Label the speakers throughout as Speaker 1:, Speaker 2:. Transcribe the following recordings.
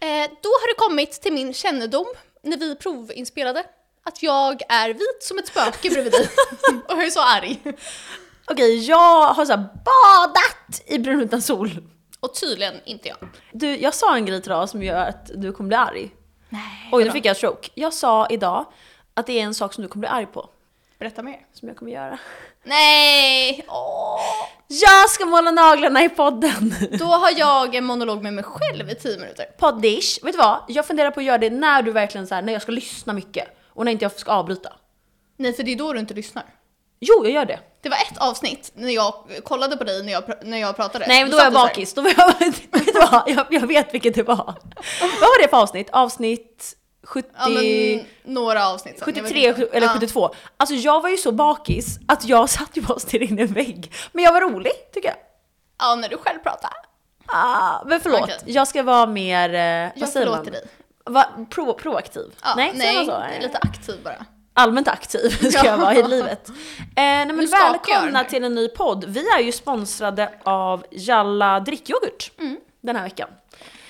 Speaker 1: Eh, då har det kommit till min kännedom, när vi provinspelade, att jag är vit som ett spöke bredvid dig. och jag är så arg.
Speaker 2: Okej, jag har så här badat i brun utan sol.
Speaker 1: Och tydligen inte jag.
Speaker 2: Du, jag sa en grej till idag som gör att du kommer bli arg.
Speaker 1: Nej.
Speaker 2: Oj, nu fick jag stroke. Jag sa idag att det är en sak som du kommer bli arg på.
Speaker 1: Berätta mer.
Speaker 2: Som jag kommer göra.
Speaker 1: Nej! Åh.
Speaker 2: Jag ska måla naglarna i podden!
Speaker 1: Då har jag en monolog med mig själv i tio minuter.
Speaker 2: Poddish. Vet du vad? Jag funderar på att göra det när du verkligen så här, när jag ska lyssna mycket. Och när inte jag ska avbryta.
Speaker 1: Nej, för det är då du inte lyssnar.
Speaker 2: Jo, jag gör det.
Speaker 1: Det var ett avsnitt när jag kollade på dig när jag, pr- när jag pratade.
Speaker 2: Nej, men då
Speaker 1: satt
Speaker 2: var jag
Speaker 1: du så här.
Speaker 2: bakis. Då var jag, vet du vad? Jag, jag vet vilket det var. Vad var det för avsnitt? Avsnitt 70...
Speaker 1: Ja, men några avsnitt sen. Jag vet
Speaker 2: 73
Speaker 1: inte.
Speaker 2: eller
Speaker 1: Ja.
Speaker 2: 72. Alltså jag var ju så bakis att jag satt ju bara och stirrade in i en vägg. Men jag var rolig, tycker jag.
Speaker 1: Ja, när du själv pratar.
Speaker 2: Ah, men förlåt,
Speaker 1: Okej.
Speaker 2: jag ska vara mer... eh, Vad
Speaker 1: Jag
Speaker 2: säger
Speaker 1: förlåter
Speaker 2: man?
Speaker 1: dig.
Speaker 2: Va, pro, proaktiv?
Speaker 1: Ja,
Speaker 2: nej, säger man så? Eh,
Speaker 1: lite aktiv bara.
Speaker 2: Allmänt aktiv ska jag vara i livet. Eh, nej, men
Speaker 1: Nu stakar jag den
Speaker 2: välkomna
Speaker 1: här.
Speaker 2: till en ny podd. Vi är ju sponsrade av Jalla drickyoghurt
Speaker 1: Mm.
Speaker 2: den här veckan.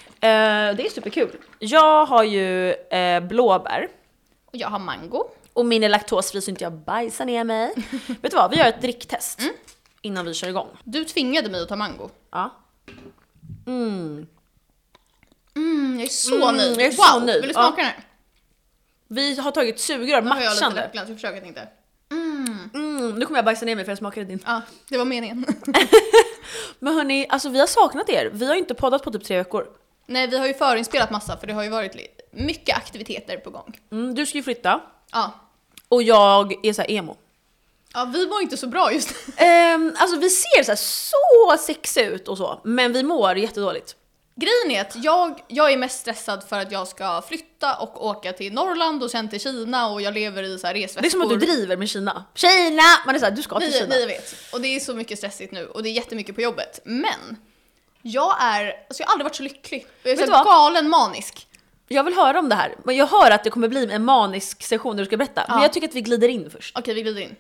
Speaker 2: Eh, det är superkul. Jag har ju eh, blåbär.
Speaker 1: Och jag har mango.
Speaker 2: Och min är laktosfri så inte jag bajsar ner mig. Vet du vad, vi gör ett dricktest
Speaker 1: Mm.
Speaker 2: innan vi kör igång.
Speaker 1: Du tvingade mig att ta mango.
Speaker 2: Ja.
Speaker 1: Mm, jag är så
Speaker 2: Mm,
Speaker 1: nöjd.
Speaker 2: jag är så
Speaker 1: wow,
Speaker 2: nöjd.
Speaker 1: vill du
Speaker 2: Ja.
Speaker 1: smaka den här?
Speaker 2: Vi har tagit sugrör,
Speaker 1: Nu har jag lite
Speaker 2: matchande.
Speaker 1: läppglans, jag försöker att inte.
Speaker 2: Mm, nu kommer jag bajsa ner mig för jag smakade din.
Speaker 1: Ja, det var meningen.
Speaker 2: Men hörni, alltså vi har saknat er. Vi har ju inte poddat på typ tre veckor.
Speaker 1: Nej, vi har ju förinspelat massa för det har ju varit li- mycket aktiviteter på gång.
Speaker 2: Mm, du ska ju flytta
Speaker 1: Ja.
Speaker 2: och jag är så här emo.
Speaker 1: Ja, vi mår inte så bra just nu.
Speaker 2: Ehm, alltså vi ser så, här, så sexiga ut och så, men vi mår jättedåligt.
Speaker 1: Grejen är att jag, jag är mest stressad för att jag ska flytta och åka till Norrland och sen till Kina och jag lever i så här resväskor.
Speaker 2: Det är som att du driver med Kina. Kina! Man är såhär, du ska till
Speaker 1: Ni,
Speaker 2: Kina.
Speaker 1: ni vet. Och det är så mycket stressigt nu och det är jättemycket på jobbet. Men jag är, alltså jag har aldrig varit så lycklig. Jag är
Speaker 2: Vet
Speaker 1: så
Speaker 2: du
Speaker 1: här
Speaker 2: vad?
Speaker 1: galen manisk.
Speaker 2: Jag vill höra om det här, men jag hör att det kommer bli en manisk session där du ska berätta. Men
Speaker 1: Ja.
Speaker 2: jag tycker att vi glider in först.
Speaker 1: Okej, vi glider in.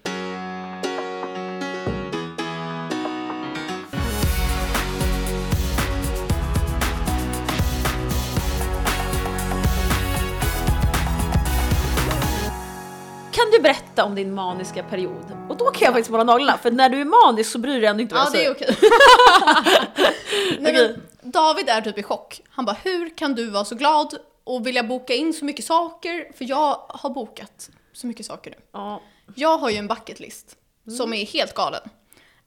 Speaker 2: Kan du berätta om din maniska period? Och då kan jag faktiskt måla naglarna, för när du är manisk så bryr du dig ändå inte vad
Speaker 1: Ja,
Speaker 2: jag
Speaker 1: det är
Speaker 2: säger.
Speaker 1: okej. Nej, men David är typ i chock. Han bara, hur kan du vara så glad och vilja boka in så mycket saker? För jag har bokat så mycket saker nu.
Speaker 2: Ja.
Speaker 1: Jag har ju en bucket list som är helt galen.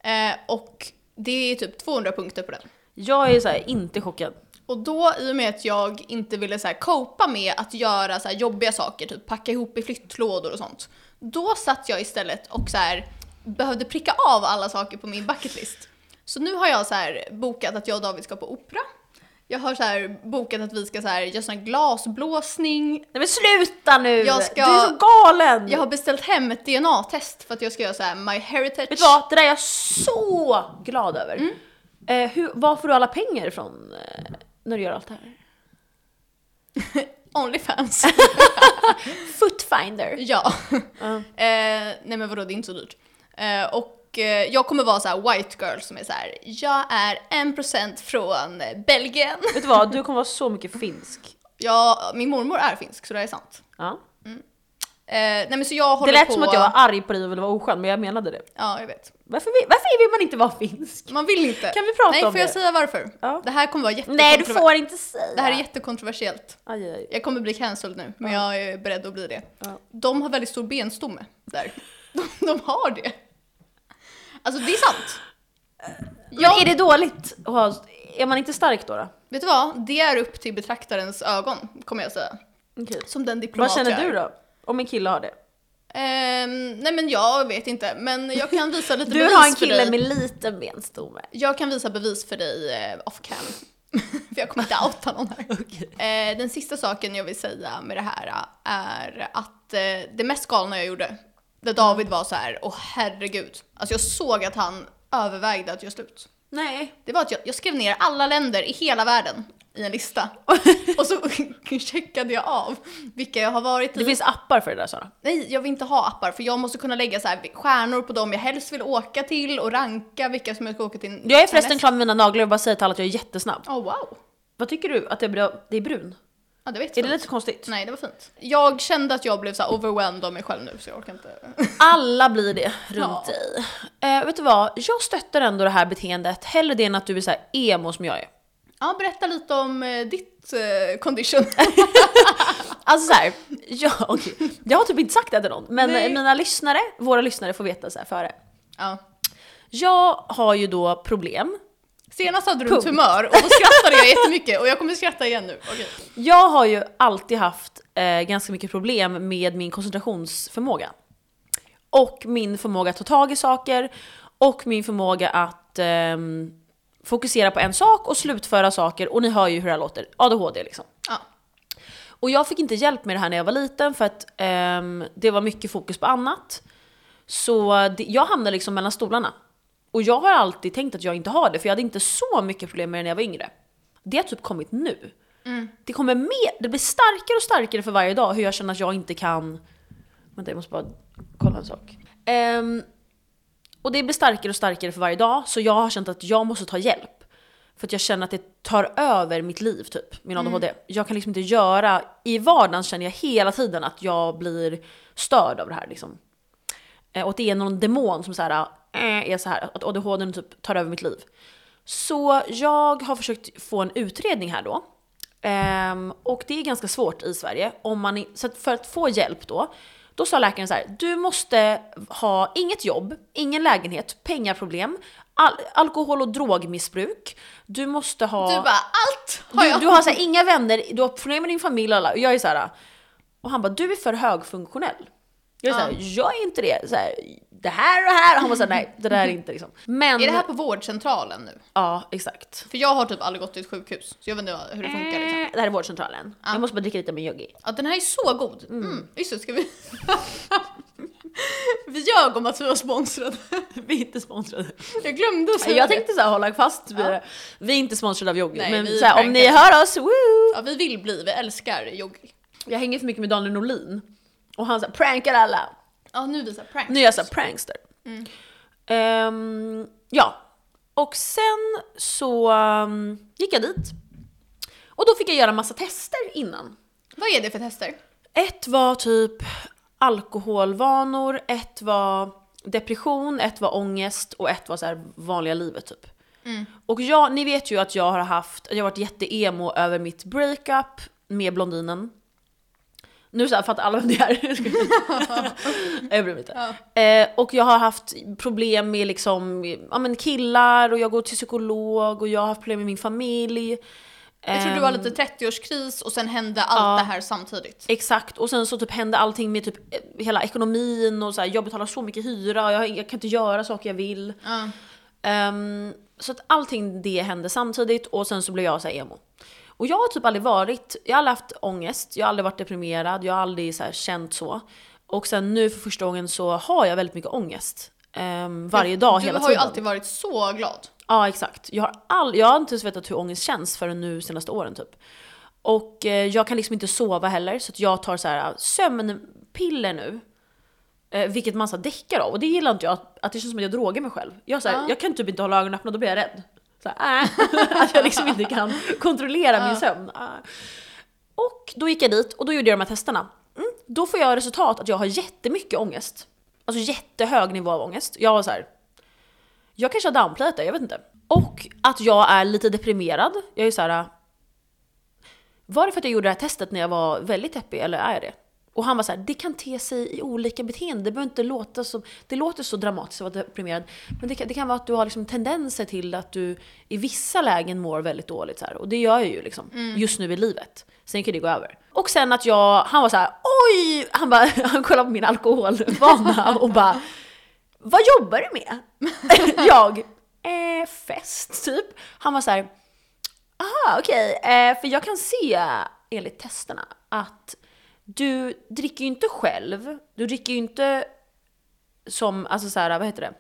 Speaker 1: Eh, och det är typ 200 punkter på den.
Speaker 2: Jag är så här, inte chockad.
Speaker 1: Och då, i och med att jag inte ville så här copa med att göra så här jobbiga saker, typ packa ihop i flyttlådor och sånt, då satt jag istället och så här behövde pricka av alla saker på min bucketlist. Så nu har jag så här bokat att jag och David ska på opera. Jag har så här bokat att vi ska så här göra sån här glasblåsning.
Speaker 2: Nej men sluta nu!
Speaker 1: Jag ska-
Speaker 2: Du är så galen!
Speaker 1: Jag har beställt hem ett DNA-test för att jag ska göra så här my heritage.
Speaker 2: Vet du vad? Det där är jag så glad över.
Speaker 1: Mm.
Speaker 2: Eh, hur, var får du alla pengar ifrån eh, när du gör allt det här?
Speaker 1: Onlyfans.
Speaker 2: Footfinder.
Speaker 1: ja. Eh,
Speaker 2: Ja.
Speaker 1: nej men vadå, det är inte så dyrt. Eh, och eh, jag kommer vara så här white girl som är så här. jag är 1% från eh, Belgien.
Speaker 2: Vet du vad? Du kommer vara så mycket finsk.
Speaker 1: Ja, min mormor är finsk så det är sant.
Speaker 2: Ja.
Speaker 1: Eh, nej men så jag håller
Speaker 2: Det lät
Speaker 1: på...
Speaker 2: som att jag var arg på dig och ville vara oskön, men jag menade det.
Speaker 1: Ja, jag vet.
Speaker 2: Varför vill, varför vill man inte vara finsk?
Speaker 1: Man vill inte.
Speaker 2: Kan vi prata
Speaker 1: nej,
Speaker 2: om
Speaker 1: får jag
Speaker 2: det?
Speaker 1: säga varför?
Speaker 2: Ja.
Speaker 1: Det här kommer vara jättekontroversiellt.
Speaker 2: Nej, du får inte säga.
Speaker 1: Det här är jättekontroversiellt.
Speaker 2: aj, aj.
Speaker 1: Jag kommer bli cancelled nu, men jag är beredd att bli det.
Speaker 2: Ja.
Speaker 1: De har väldigt stor benstomme där. De, de har det. Alltså det är sant.
Speaker 2: Men är det dåligt att ha, Är man inte stark då? då?
Speaker 1: Vet du vad? Det är upp till betraktarens ögon, kommer jag säga.
Speaker 2: Okej.
Speaker 1: Som den diplomat
Speaker 2: Vad känner du då? Om en kille har det?
Speaker 1: Ehm, nej men jag vet inte, men jag kan visa lite
Speaker 2: Du
Speaker 1: bevis
Speaker 2: har en
Speaker 1: för
Speaker 2: kille
Speaker 1: dig.
Speaker 2: med liten benstomme.
Speaker 1: Jag kan visa bevis för dig eh, off cam. för jag kommer inte outa någon här. Eh, den sista saken jag vill säga med det här eh, är att eh, det mest galna jag gjorde, där David var så här, åh herregud. Alltså jag såg att han övervägde att göra slut.
Speaker 2: Nej.
Speaker 1: Det var att jag, jag skrev ner alla länder i hela världen i en lista. Och så checkade jag av vilka jag har varit
Speaker 2: Det
Speaker 1: i.
Speaker 2: finns appar för det där Sara.
Speaker 1: Nej, jag vill inte ha appar för jag måste kunna lägga så här stjärnor på dem jag helst vill åka till och ranka vilka som jag ska åka till.
Speaker 2: Jag är förresten
Speaker 1: näst.
Speaker 2: klar med mina naglar och bara säger till alla att jag är jättesnabb.
Speaker 1: Åh wow.
Speaker 2: Vad tycker du att det är, bra, det är brun?
Speaker 1: Ja, det var
Speaker 2: Är det
Speaker 1: jättefint.
Speaker 2: lite konstigt?
Speaker 1: Nej, det var fint. Jag kände att jag blev så här overwhelmed av mig själv nu så jag orkar inte.
Speaker 2: Alla blir det
Speaker 1: Ja.
Speaker 2: runt dig. Eh, vet du vad? Jag stöttar ändå det här beteendet. Hellre det än att du är så här emo som jag är.
Speaker 1: Ja, berätta lite om eh, ditt eh, condition.
Speaker 2: Alltså såhär, jag, okay. jag har typ inte sagt det till någon, men
Speaker 1: Nej.
Speaker 2: mina lyssnare, våra lyssnare får veta så här före.
Speaker 1: ja.
Speaker 2: Jag har ju då problem.
Speaker 1: Senast hade du
Speaker 2: Punkt.
Speaker 1: ett humör och då skrattade jag jättemycket och jag kommer skratta igen nu. Okej.
Speaker 2: Jag har ju alltid haft eh, ganska mycket problem med min koncentrationsförmåga. Och min förmåga att ta tag i saker och min förmåga att ehm, fokusera på en sak och slutföra saker. Och ni hör ju hur det här låter, ADHD liksom.
Speaker 1: Ja.
Speaker 2: Och jag fick inte hjälp med det här när jag var liten för att ehm, det var mycket fokus på annat. Så det, jag hamnade liksom mellan stolarna. Och jag har alltid tänkt att jag inte har det, för jag hade inte så mycket problem med det när jag var yngre. Det har typ kommit nu. Det kommer mer, det blir starkare och starkare för varje dag hur jag känner att jag inte kan... Vänta jag måste bara kolla en sak. Ehm, och det blir starkare och starkare för varje dag, så jag har känt att jag måste ta hjälp. För att jag känner att det tar över mitt liv, typ, min ADHD. Jag kan liksom inte göra, i vardagen känner jag hela tiden att jag blir störd av det här liksom. Eh, Och att det är någon demon som så här, eh, är så här, att ADHD typ tar över mitt liv. Så jag har försökt få en utredning här då. Ehm, och det är ganska svårt i Sverige. Om man, i- så att för att få hjälp då, då sa läkaren så här, du måste ha inget jobb, ingen lägenhet, pengaproblem, al alkohol och drogmissbruk. Du måste ha...
Speaker 1: Du bara allt har
Speaker 2: Du,
Speaker 1: jag.
Speaker 2: du har så här, inga vänner, du har problem med din familj och alla. Och jag är så här. Och han bara, du är för högfunktionell. Jag är så här,
Speaker 1: Ja.
Speaker 2: jag är inte det. Så här, det här och här. Och han var så här, nej det där är inte liksom. Men,
Speaker 1: Är det här på vårdcentralen nu?
Speaker 2: ja exakt.
Speaker 1: För jag har typ aldrig gått till ett sjukhus så jag vet inte hur det funkar liksom.
Speaker 2: Det här är vårdcentralen. Jag måste bara dricka lite av min yogi.
Speaker 1: Ja, den här är så god. Mm. Just det, ska vi... vi ljög om att vi var sponsrade.
Speaker 2: Vi är inte sponsrade.
Speaker 1: Jag glömde att säga
Speaker 2: Alltså, Jag
Speaker 1: det.
Speaker 2: tänkte så här, hålla fast vid
Speaker 1: Ja.
Speaker 2: det. Vi är inte sponsrade av yogi.
Speaker 1: Nej,
Speaker 2: men
Speaker 1: vi
Speaker 2: så här, om ni
Speaker 1: prankar.
Speaker 2: hör oss, woo!
Speaker 1: Ja, vi vill bli, vi älskar yogi.
Speaker 2: Jag hänger för mycket med Daniel Norlin. Och han så här, prankar alla.
Speaker 1: Ja, nu visar prank.
Speaker 2: Nu är jag såhär prankster. Ehm, ja. Och sen så um, gick jag dit. Och då fick jag göra massa tester innan.
Speaker 1: Vad är det för tester?
Speaker 2: Ett var typ alkoholvanor, ett var depression, ett var ångest och ett var så här vanliga livet typ.
Speaker 1: Mm.
Speaker 2: Och jag, ni vet ju att jag har haft, jag har varit jätteemo över mitt breakup med blondinen. Nu så här, fattar alla vem det är. jag bryr mig inte. Eh, och jag har haft problem med liksom, ja, men killar och jag går till psykolog och jag har haft problem med min familj.
Speaker 1: Jag tror du
Speaker 2: Ehm.
Speaker 1: har lite 30-årskris och sen hände allt det här samtidigt.
Speaker 2: Exakt, och sen så typ hände allting med typ eh, hela ekonomin och så här, jag betalar så mycket hyra och jag, har ing- jag kan inte göra saker jag vill.
Speaker 1: Ja.
Speaker 2: Ehm, så att allting det hände samtidigt och sen så blev jag så här emo. Och jag har typ aldrig varit, jag har aldrig haft ångest, jag har aldrig varit deprimerad, jag har aldrig så här känt så. Och sen nu för första gången så har jag väldigt mycket ångest. ehm, varje dag,
Speaker 1: du
Speaker 2: hela
Speaker 1: har
Speaker 2: tiden.
Speaker 1: ju alltid varit så glad.
Speaker 2: Ja exakt. Jag har, all, jag har inte ens vetat hur ångest känns förrän nu senaste åren typ. Och eh, jag kan liksom inte sova heller så att jag tar så här äh, sömnpiller nu. Eh, vilket man så här däckar av och det gillar inte jag, att, att det känns som att jag drogar mig själv. Jag, så här,
Speaker 1: Ja.
Speaker 2: jag kan typ inte hålla ögonen öppna, då blir jag rädd. Så här, äh, att jag liksom inte kan kontrollera min sömn. Äh. Och då gick jag dit och då gjorde jag de här testerna. Mm, då får jag resultat att jag har jättemycket ångest. Alltså jättehög nivå av ångest. Jag var så här, jag kanske har downplayat det, jag vet inte. Och att jag är lite deprimerad. Jag är så här. äh, Var det för att jag gjorde det här testet när jag var väldigt deppig eller är jag det? Och han var så här, det kan te sig i olika beteenden. Det behöver inte låta som, det låter så dramatiskt att vara deprimerad. Men det kan, det kan vara att du har liksom tendenser till att du i vissa lägen mår väldigt dåligt så här. Och det gör jag ju liksom just nu i livet. Sen kan det gå över. Och sen att jag, han var så här, oj! Han, bara, han kollade på min alkoholvana och bara, vad jobbar du med? jag, eh, fest typ. Han var så här, aha okej, eh, för jag kan se enligt testerna att du dricker ju inte själv, du dricker ju inte som, alltså så här, vad heter det,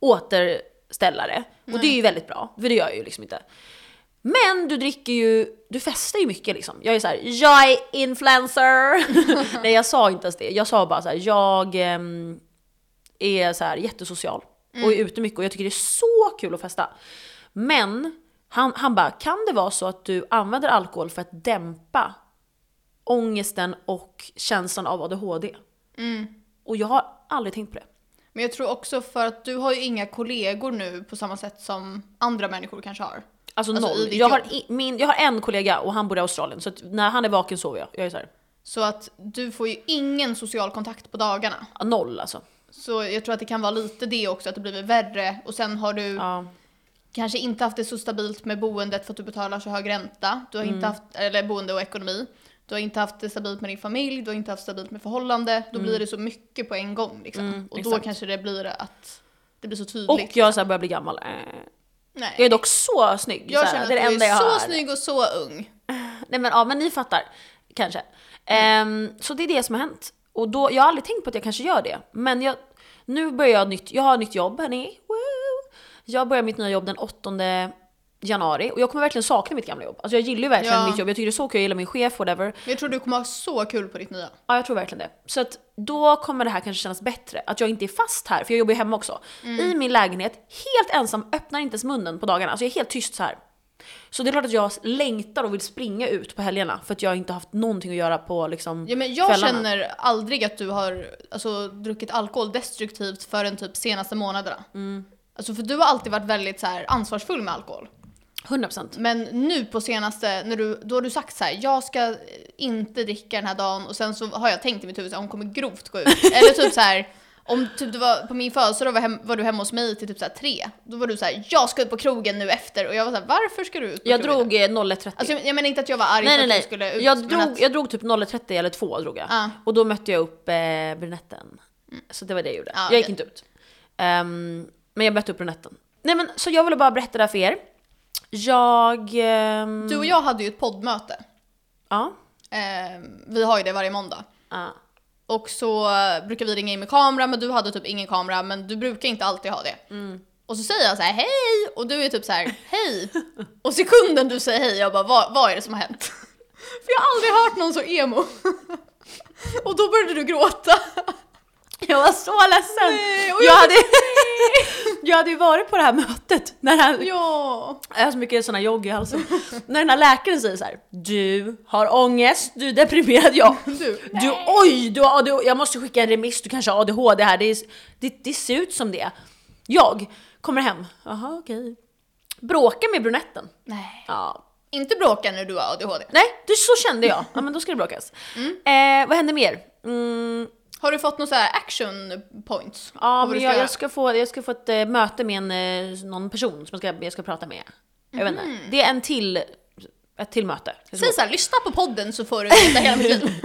Speaker 2: återställare. Och det är ju väldigt bra, för det gör jag ju liksom inte. Men du dricker ju, du festar ju mycket liksom. Jag är så här, jag är influencer! Nej jag sa inte ens det, jag sa bara så här, jag ehm, är så här jättesocial
Speaker 1: Mm.
Speaker 2: och är ute mycket och jag tycker det är så kul att festa. Men han, han bara, kan det vara så att du använder alkohol för att dämpa ångesten och känslan av ADHD.
Speaker 1: Mm.
Speaker 2: Och jag har aldrig tänkt på det.
Speaker 1: Men jag tror också för att du har ju inga kollegor nu på samma sätt som andra människor kanske har.
Speaker 2: Alltså,
Speaker 1: Alltså, i
Speaker 2: noll.
Speaker 1: ditt
Speaker 2: Jag har,
Speaker 1: jobb.
Speaker 2: i, min, jag har en kollega och han bor i Australien så att när han är vaken sover jag. Jag är så här,
Speaker 1: Så att du får ju ingen social kontakt på dagarna.
Speaker 2: ah, noll alltså.
Speaker 1: Så jag tror att det kan vara lite det också, att det blir värre. Och sen har du
Speaker 2: Ja.
Speaker 1: kanske inte haft det så stabilt med boendet för att du betalar så hög ränta. Du har
Speaker 2: Mm.
Speaker 1: inte haft, eller boende och ekonomi. Du har inte haft det stabilt med din familj, du har inte haft stabilt med förhållande. Då blir det så mycket på en gång liksom.
Speaker 2: Mm,
Speaker 1: och då
Speaker 2: exakt.
Speaker 1: kanske det blir att det blir så
Speaker 2: Och
Speaker 1: tydligt.
Speaker 2: jag så här börjar bli gammal. Eh.
Speaker 1: Nej.
Speaker 2: Jag är dock så snygg.
Speaker 1: Jag
Speaker 2: så här,
Speaker 1: känner att
Speaker 2: det är det
Speaker 1: du
Speaker 2: enda
Speaker 1: är
Speaker 2: jag har.
Speaker 1: så snygg och så ung.
Speaker 2: Nej men ja, men ni fattar. Kanske. Ehm, så det är det som har hänt. Och då, jag har aldrig tänkt på att jag kanske gör det. Men jag, nu börjar jag nytt, jag har nytt jobb hörni. Woo! Jag börjar mitt nya jobb den 8 januari och jag kommer verkligen sakna mitt gamla jobb. Alltså jag gillar ju verkligen
Speaker 1: Ja.
Speaker 2: mitt jobb, jag tycker det är så kul, jag gillar min chef, whatever.
Speaker 1: Men Jag tror du kommer ha så kul på ditt nya.
Speaker 2: Ja, jag tror verkligen det. Så att då kommer det här kanske kännas bättre. Att jag inte är fast här, för jag jobbar ju hemma också. I min lägenhet, helt ensam, öppnar inte ens munnen på dagarna. Alltså jag är helt tyst så här. Så det är klart att jag längtar och vill springa ut på helgerna för att jag inte har haft någonting att göra på liksom...
Speaker 1: Ja, men jag
Speaker 2: Kvällarna.
Speaker 1: känner aldrig att du har alltså, druckit alkohol destruktivt förrän typ senaste månaderna.
Speaker 2: Mm.
Speaker 1: Alltså, för du har alltid varit väldigt så här, ansvarsfull med alkohol.
Speaker 2: 100%.
Speaker 1: Men nu på senaste, när du, då har du sagt så här: jag ska eh, inte dricka den här dagen och sen så har jag tänkt i mitt huvud så här, hon kommer grovt gå ut. Eller typ så här. Om typ du var på min födelsedag var, hem, var du hemma hos mig till typ så här tre, då var du så här: jag ska ut på krogen nu efter och jag var så här, varför ska du ut på
Speaker 2: Jag
Speaker 1: krogen?
Speaker 2: drog eh, 01.30.
Speaker 1: Alltså jag, jag menar inte att jag var arg
Speaker 2: nej
Speaker 1: för
Speaker 2: nej
Speaker 1: att du
Speaker 2: nej.
Speaker 1: skulle ut.
Speaker 2: jag,
Speaker 1: men
Speaker 2: drog,
Speaker 1: att,
Speaker 2: jag drog typ 01.30 eller 2 drog jag.
Speaker 1: Ja. Mm.
Speaker 2: Och då mötte jag upp eh, brunetten. Så det var det jag gjorde.
Speaker 1: Ja,
Speaker 2: jag gick
Speaker 1: okej.
Speaker 2: inte ut. Ehm, men jag mötte upp brunetten. Nej men så jag ville bara berätta det här för er. Jag... ehm,
Speaker 1: Du och jag hade ju ett poddmöte.
Speaker 2: Ja.
Speaker 1: Eh, vi har ju det varje måndag.
Speaker 2: ja.
Speaker 1: Och så eh, brukar vi ringa in med kamera men du hade typ ingen kamera men du brukar inte alltid ha det.
Speaker 2: Mm.
Speaker 1: Och så säger jag så här hej och du är typ så här hej. Och sekunden du säger hej jag bara vad, vad är det som har hänt? För jag har aldrig hört någon så emo. Och då började du gråta.
Speaker 2: Jag var så ledsen!
Speaker 1: Nej, och
Speaker 2: jag,
Speaker 1: jag-
Speaker 2: hade... jag hade ju varit på det här mötet när han...
Speaker 1: Ja.
Speaker 2: Jag har så mycket såna jogg i halsen. när den här läkaren säger så här: Du har ångest, du är deprimerad, jag.
Speaker 1: Du.
Speaker 2: Du, oj, du har ADHD, jag måste skicka en remiss, du kanske har ADHD här. Det, är, det, det ser ut som det. Jag kommer hem, jaha okej. Bråka med brunetten.
Speaker 1: Nej.
Speaker 2: Ja.
Speaker 1: Inte bråka när du har ADHD.
Speaker 2: Nej, det, så kände jag. Ja men då ska det bråkas.
Speaker 1: Mm.
Speaker 2: Eh, vad händer mer? Mm,
Speaker 1: Har du fått någon så här action points? på
Speaker 2: ja,
Speaker 1: vad
Speaker 2: men
Speaker 1: du
Speaker 2: jag,
Speaker 1: göra?
Speaker 2: jag, ska få, jag ska få ett eh, möte med en, eh, någon person som jag ska, jag ska prata med. Jag vet inte.
Speaker 1: Mm.
Speaker 2: Det är en till, ett till möte. Jag ska
Speaker 1: Säg så här, lyssna på podden så får du veta hela mitt liv.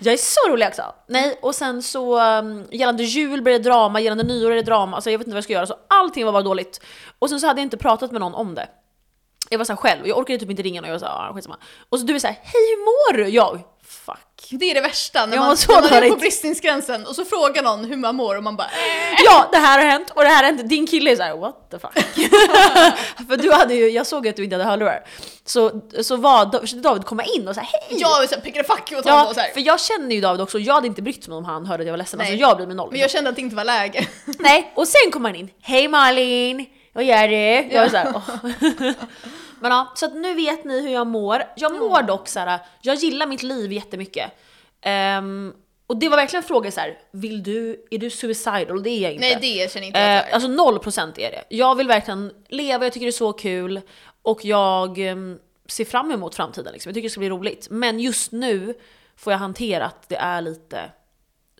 Speaker 2: Jag är så rolig också! Nej, och sen så um, gällande jul blir det drama, gällande nyår är det drama, alltså jag vet inte vad jag ska göra, så allting var bara dåligt. Och sen så hade jag inte pratat med någon om det. Jag var såhär själv, jag orkade typ inte ringa någon, jag var såhär ah, skitsamma. Och så du är såhär “Hej hur mår du?” Jag “Fuck”.
Speaker 1: Det är det värsta, när
Speaker 2: Jag mår
Speaker 1: man,
Speaker 2: så
Speaker 1: när man är på
Speaker 2: dåligt.
Speaker 1: bristningsgränsen och så frågar någon hur man mår och man bara "Eh."
Speaker 2: Ja, det här har hänt och det här har hänt. Din kille är såhär “What the fuck?” För du hade ju, jag såg ju att du inte hade hörlurar. Så, så var, då försökte David komma in och säga “Hej!”
Speaker 1: jag är såhär pickade fuck åt honom
Speaker 2: Ja,
Speaker 1: och så här.
Speaker 2: för jag känner ju David också, jag hade inte brytt mig om han hörde att jag var ledsen.
Speaker 1: Nej.
Speaker 2: Alltså jag blir med noll.
Speaker 1: Men jag kände att det inte var läge.
Speaker 2: Nej, och sen kom han in. Hej Malin! Vad gör du? Jag var såhär, åh. Men ja, så att nu vet ni hur jag mår. Jag mår dock såhär, jag gillar mitt liv jättemycket. Ehm, och det var verkligen frågan såhär, vill du, är du suicidal? Och det är jag inte.
Speaker 1: Nej det känner inte jag att jag
Speaker 2: Eh,
Speaker 1: är.
Speaker 2: alltså 0% är det. Jag vill verkligen leva, jag tycker det är så kul och jag ehm, ser fram emot framtiden. Liksom. Jag tycker det ska bli roligt. Men just nu får jag hantera att det är lite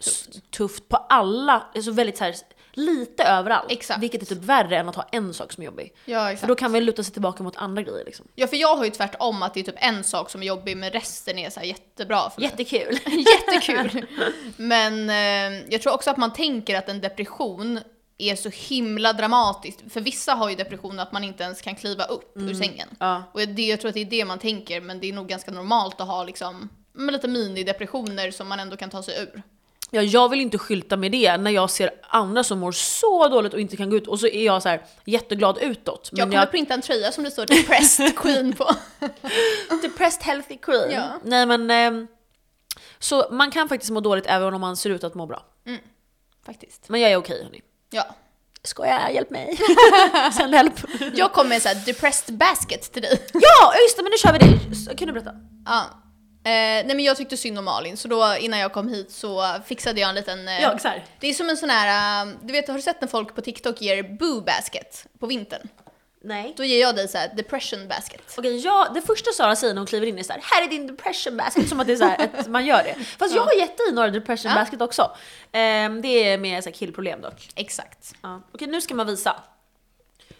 Speaker 2: tufft, tufft på alla, alltså väldigt så här, lite överallt.
Speaker 1: Exakt.
Speaker 2: Vilket är typ värre än att ha en sak som är jobbig.
Speaker 1: Ja,
Speaker 2: För
Speaker 1: exakt.
Speaker 2: då kan man ju luta sig tillbaka mot andra grejer. Liksom.
Speaker 1: ja för jag har ju tvärtom att det är typ en sak som är jobbig men resten är så här jättebra för mig.
Speaker 2: Jättekul.
Speaker 1: Jättekul! Men eh, jag tror också att man tänker att en depression är så himla dramatiskt. För vissa har ju depression att man inte ens kan kliva upp ur sängen.
Speaker 2: ja.
Speaker 1: Och det, jag tror att det är det man tänker, men det är nog ganska normalt att ha liksom, men lite minidepressioner som man ändå kan ta sig ur.
Speaker 2: Ja, jag vill inte skylta med det när jag ser andra som mår så dåligt och inte kan gå ut och så är jag så här jätteglad utåt.
Speaker 1: Jag kommer printa en tröja som det står “Depressed Queen” på.
Speaker 2: Depressed healthy queen.
Speaker 1: Ja.
Speaker 2: Nej men, ehm, så man kan faktiskt må dåligt även om man ser ut att må bra.
Speaker 1: Faktiskt.
Speaker 2: Men jag är okej hörni.
Speaker 1: Ja.
Speaker 2: Skoja, hjälp mig. Sänd hjälp.
Speaker 1: Jag kom med en sån här “Depressed Basket” till dig.
Speaker 2: Ja, just det, men nu kör vi det. Så, Kan du berätta?
Speaker 1: Ja. Eh, Eh, nej men jag tyckte synd om Malin så då innan jag kom hit så fixade jag en liten... Eh,
Speaker 2: Jag så här.
Speaker 1: Det är som en sån här, eh, du vet har du sett när folk på TikTok ger boo basket på vintern?
Speaker 2: Nej.
Speaker 1: Då ger jag dig så här depression basket.
Speaker 2: Okej, jag, det första Sara säger när hon kliver in är så här, här är din depression basket, som att det är så här att man gör det. Fast jag har gett dig några depression
Speaker 1: Ja.
Speaker 2: basket också. Ehm, det är mer så här killproblem dock.
Speaker 1: Exakt.
Speaker 2: Ja. Okej, nu ska man visa.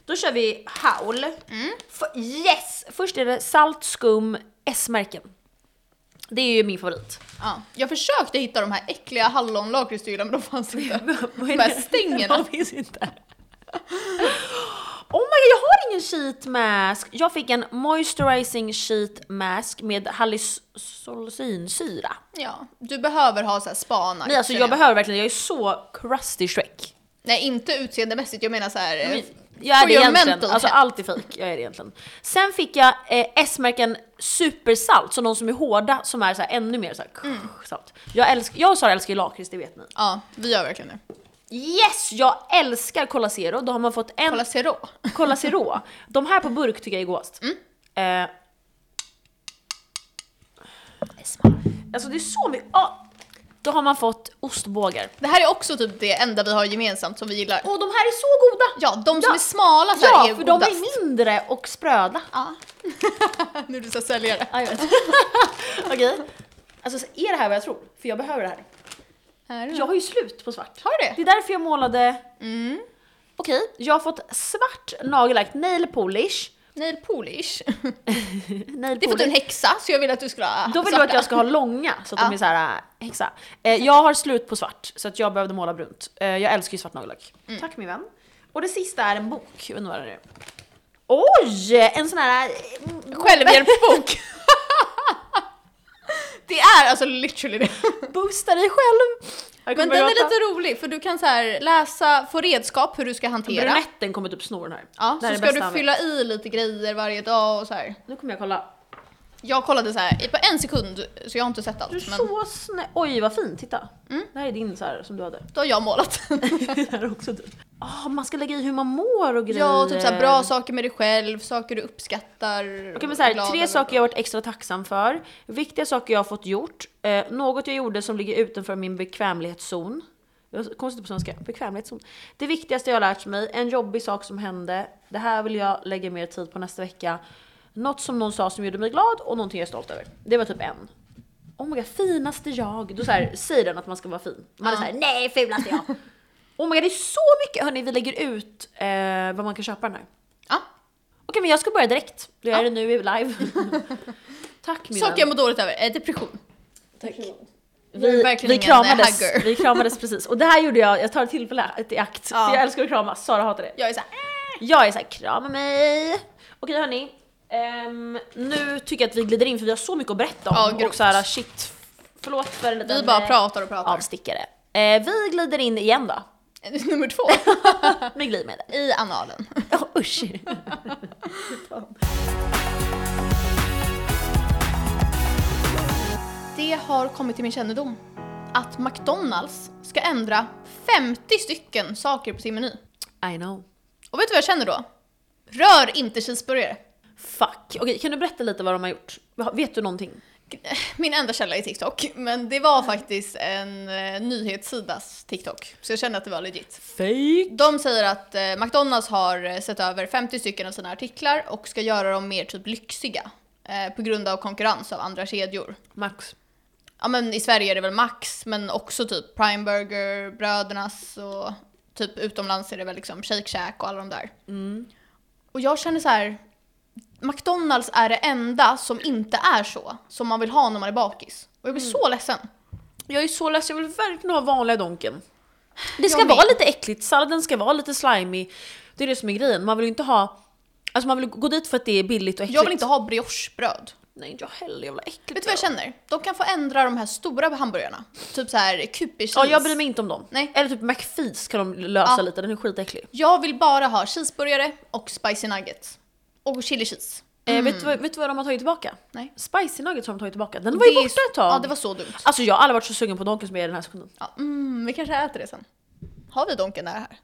Speaker 2: Då kör vi howl. F- yes! Först är det salt, skum, S-märken. Det är ju min favorit.
Speaker 1: Ja. Jag försökte hitta de här äckliga hallonlakritsstyrda men de fanns inte.
Speaker 2: Vad
Speaker 1: de här stängerna.
Speaker 2: De finns inte. Oh my god, jag har ingen sheet mask! Jag fick en moisturizing sheet mask med hallucinsyra.
Speaker 1: Ja, du behöver ha så här spana.
Speaker 2: Nej alltså
Speaker 1: känner
Speaker 2: jag behöver verkligen, jag är så crusty Shrek.
Speaker 1: Nej inte utseendemässigt, jag menar så här. eh,
Speaker 2: Jag är
Speaker 1: For
Speaker 2: det
Speaker 1: your
Speaker 2: egentligen,
Speaker 1: mental
Speaker 2: alltså
Speaker 1: health.
Speaker 2: allt är fejk. Jag är det egentligen. Sen fick jag eh, S-märken supersalt, så de som är hårda som är så här, ännu mer så här, salt. Jag, älsk, jag och Sara älskar ju lakrits, det vet ni.
Speaker 1: Ja, vi gör verkligen det.
Speaker 2: Yes! Jag älskar Cola Zero, då har man fått en
Speaker 1: Kolla Zero.
Speaker 2: Kolla Zero. De här på burk tycker jag är godast. Eh. Alltså det är så mycket... ah! Då har man fått ostbågar.
Speaker 1: Det här är också typ det enda vi har gemensamt som vi gillar.
Speaker 2: Och de här är så goda!
Speaker 1: Ja, de som
Speaker 2: Ja.
Speaker 1: är smala så här
Speaker 2: Ja,
Speaker 1: är
Speaker 2: för
Speaker 1: godast.
Speaker 2: de är mindre och spröda.
Speaker 1: Ja. nu är du så säljare.
Speaker 2: Ja, jag vet. Okej. Alltså är det här vad jag tror? För jag behöver det här.
Speaker 1: Här
Speaker 2: Jag har ju slut på svart.
Speaker 1: Har du det?
Speaker 2: Det är därför jag målade...
Speaker 1: Mm.
Speaker 2: Okej, jag har fått svart nagellack, nail polish.
Speaker 1: Nail polish.
Speaker 2: Nail
Speaker 1: Det är för att du är en
Speaker 2: polish.
Speaker 1: häxa så jag vill att du skulle ha
Speaker 2: Då vill du
Speaker 1: svarta.
Speaker 2: att jag ska ha långa så att de
Speaker 1: Ja.
Speaker 2: är så här äh, häxa. Eh, jag har slut på svart så att jag behövde måla brunt. Eh, jag älskar ju svart nagellack.
Speaker 1: Mm.
Speaker 2: Tack min vän. Och det sista är en bok. Jag vet inte vad det är. Oj! En sån här... eh,
Speaker 1: Självhjälpsbok! det är alltså literally det.
Speaker 2: Boosta dig själv! Jag kommer
Speaker 1: Men den
Speaker 2: börja
Speaker 1: är
Speaker 2: gråta.
Speaker 1: lite rolig för du kan så här läsa, få redskap hur du ska hantera.
Speaker 2: Brunetten kommer typ sno den här.
Speaker 1: Ja,
Speaker 2: Det här
Speaker 1: så ska
Speaker 2: är bästa
Speaker 1: du
Speaker 2: han vet.
Speaker 1: fylla i lite grejer varje dag och så här.
Speaker 2: Nu kommer jag kolla.
Speaker 1: Jag kollade så här i- på en sekund så jag har inte sett allt
Speaker 2: Du är
Speaker 1: men Mm.
Speaker 2: så snäll. Oj vad fin, titta. Det här är din så här som du hade.
Speaker 1: då har jag målat.
Speaker 2: det här är också du. Ah, man ska lägga i hur man mår och grejer.
Speaker 1: ja, typ så här bra saker med dig själv, saker du uppskattar.
Speaker 2: Okej, men så här,
Speaker 1: glad
Speaker 2: tre
Speaker 1: över.
Speaker 2: saker jag varit extra tacksam för. Viktiga saker jag har fått gjort. Eh, något jag gjorde som ligger utanför min bekvämlighetszon. Det var så Konstigt på svenska. Bekvämlighetszon. Det viktigaste jag har lärt mig. En jobbig sak som hände. Det här vill jag lägga mer tid på nästa vecka. Något som någon sa som gjorde mig glad och någonting jag är stolt över. Det var typ en. Oh my god, finaste jag. Då så här, säger den att man ska vara fin. Man är
Speaker 1: Ja.
Speaker 2: så här, nej fulaste jag. oh my god, det är så mycket. Hörni, vi lägger ut eh, vad man kan köpa den här.
Speaker 1: Ja,
Speaker 2: Okej men jag ska börja direkt. Du är det nu i live. Tack min
Speaker 1: saker jag mår dåligt över, eh, depression. Jag är
Speaker 2: Vi,
Speaker 1: verkligen
Speaker 2: vi,
Speaker 1: ingen
Speaker 2: kramades,
Speaker 1: hugger.
Speaker 2: vi kramades precis. Och det här gjorde jag, jag tar tillfället i akt.
Speaker 1: Ja.
Speaker 2: För jag älskar att kramas, Sara hatar det.
Speaker 1: Jag är så här,
Speaker 2: Jag är såhär, krama mig! Okej hörni. ehm, nu tycker jag att vi glider in för vi har så mycket att berätta om.
Speaker 1: Ja, grovt.
Speaker 2: och såhär shit. Förlåt för en
Speaker 1: vi
Speaker 2: liten,
Speaker 1: bara
Speaker 2: eh,
Speaker 1: pratar och pratar.
Speaker 2: avstickare. Eh, vi glider in igen då.
Speaker 1: Nummer två,
Speaker 2: Med glidmedel.
Speaker 1: i analen.
Speaker 2: Ja usch!
Speaker 1: Det har kommit till min kännedom att McDonalds ska ändra 50 stycken saker på sin meny.
Speaker 2: I know.
Speaker 1: Och vet du vad jag känner då? Rör inte cheeseburgare.
Speaker 2: Fuck. Okej kan du berätta lite vad de har gjort? Vet du någonting?
Speaker 1: Min enda källa är TikTok, men det var faktiskt en eh, nyhetssidas TikTok. Så jag kände att det var legit.
Speaker 2: Fake!
Speaker 1: De säger att eh, McDonalds har eh, sett över 50 stycken av sina artiklar och ska göra dem mer typ lyxiga. Eh, på grund av konkurrens av andra kedjor.
Speaker 2: Max.
Speaker 1: Ja men i Sverige är det väl Max, men också typ Prime Burger, Brödernas och typ utomlands är det väl liksom Shake Shack och alla de där.
Speaker 2: Mm.
Speaker 1: Och jag känner så här. McDonalds är det enda som inte är så, som man vill ha när man är bakis. Och jag
Speaker 2: Mm.
Speaker 1: blir så ledsen.
Speaker 2: Jag är så ledsen, jag vill verkligen ha vanliga Donken. Det
Speaker 1: Jag
Speaker 2: ska
Speaker 1: med.
Speaker 2: vara lite äckligt, salladen ska vara lite slimy. Det är det som är grejen, man vill ju inte ha... Alltså man vill gå dit för att det är billigt och äckligt.
Speaker 1: Jag vill inte ha briochebröd.
Speaker 2: Nej inte jag heller, jag vill ha äckligt.
Speaker 1: Vet du vad jag känner? De kan få ändra de här stora hamburgarna. Typ så här kupicheese.
Speaker 2: Ja jag bryr mig inte om dem.
Speaker 1: Nej.
Speaker 2: Eller typ McFees kan de lösa
Speaker 1: Ja.
Speaker 2: lite, den är skitäcklig.
Speaker 1: Jag vill bara ha cheeseburgare och spicy nuggets. Och chili cheese.
Speaker 2: Eh, vet, du, vad- vet du vad de har tagit tillbaka?
Speaker 1: Mm. Nej.
Speaker 2: Spicy nuggets har de tagit tillbaka, den var ju
Speaker 1: Det är
Speaker 2: borta
Speaker 1: så-
Speaker 2: ett tag.
Speaker 1: Ja, det var så dumt.
Speaker 2: Alltså jag har aldrig varit så sugen på Donken som jag är den här sekunden.
Speaker 1: Ja, mm, vi kanske äter det sen. Har vi Donken nära här?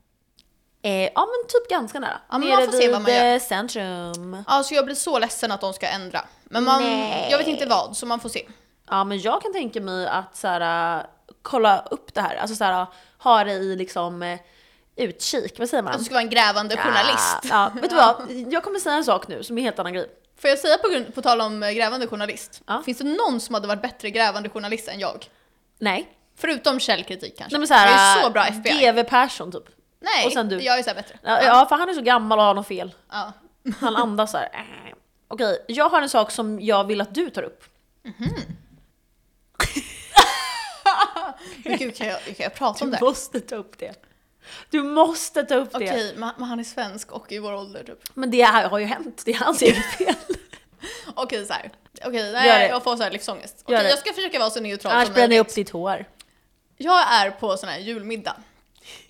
Speaker 2: Eh, ja men typ ganska nära.
Speaker 1: Ja, men
Speaker 2: Nere
Speaker 1: man får se vad man gör.
Speaker 2: vid, eh, centrum.
Speaker 1: Alltså jag blir så ledsen att de ska ändra. Men man,
Speaker 2: Nej.
Speaker 1: jag vet inte vad, så man får se.
Speaker 2: Ja men jag kan tänka mig att så här, äh, kolla upp det här, alltså så här, äh, ha det i liksom äh, utkik, vad säger man?
Speaker 1: Att du ska vara en grävande Alltså, journalist.
Speaker 2: Ja, ja. Vet du vad, jag kommer säga en sak nu som är en helt annan grej.
Speaker 1: Får jag säga på, grund, på tal om eh, grävande journalist?
Speaker 2: Ja.
Speaker 1: Finns det någon som hade varit bättre grävande journalist än jag?
Speaker 2: Nej.
Speaker 1: Förutom källkritik kanske.
Speaker 2: Nej men så här,
Speaker 1: jag är så
Speaker 2: äh,
Speaker 1: bra FBI.
Speaker 2: GW Persson typ.
Speaker 1: Nej,
Speaker 2: och sen du.
Speaker 1: jag är så här bättre.
Speaker 2: Ja, ja för han är så gammal och har något fel.
Speaker 1: Ja.
Speaker 2: Han andas så här. äh. Okej, jag har en sak som jag vill att du tar upp.
Speaker 1: Men gud, kan jag, kan jag prata om det?
Speaker 2: Du måste ta upp det. Du måste ta upp det.
Speaker 1: Okej, men men han är svensk och i vår ålder typ.
Speaker 2: Men det här har ju hänt, det är hans eget fel.
Speaker 1: Okej, så här. Okej,
Speaker 2: Gör det.
Speaker 1: nej, jag får så här livsångest. Okej,
Speaker 2: Gör det.
Speaker 1: jag ska försöka vara så neutral
Speaker 2: Annars
Speaker 1: som möjligt.
Speaker 2: bränner jag upp sitt hår.
Speaker 1: Jag är på sån här julmiddag.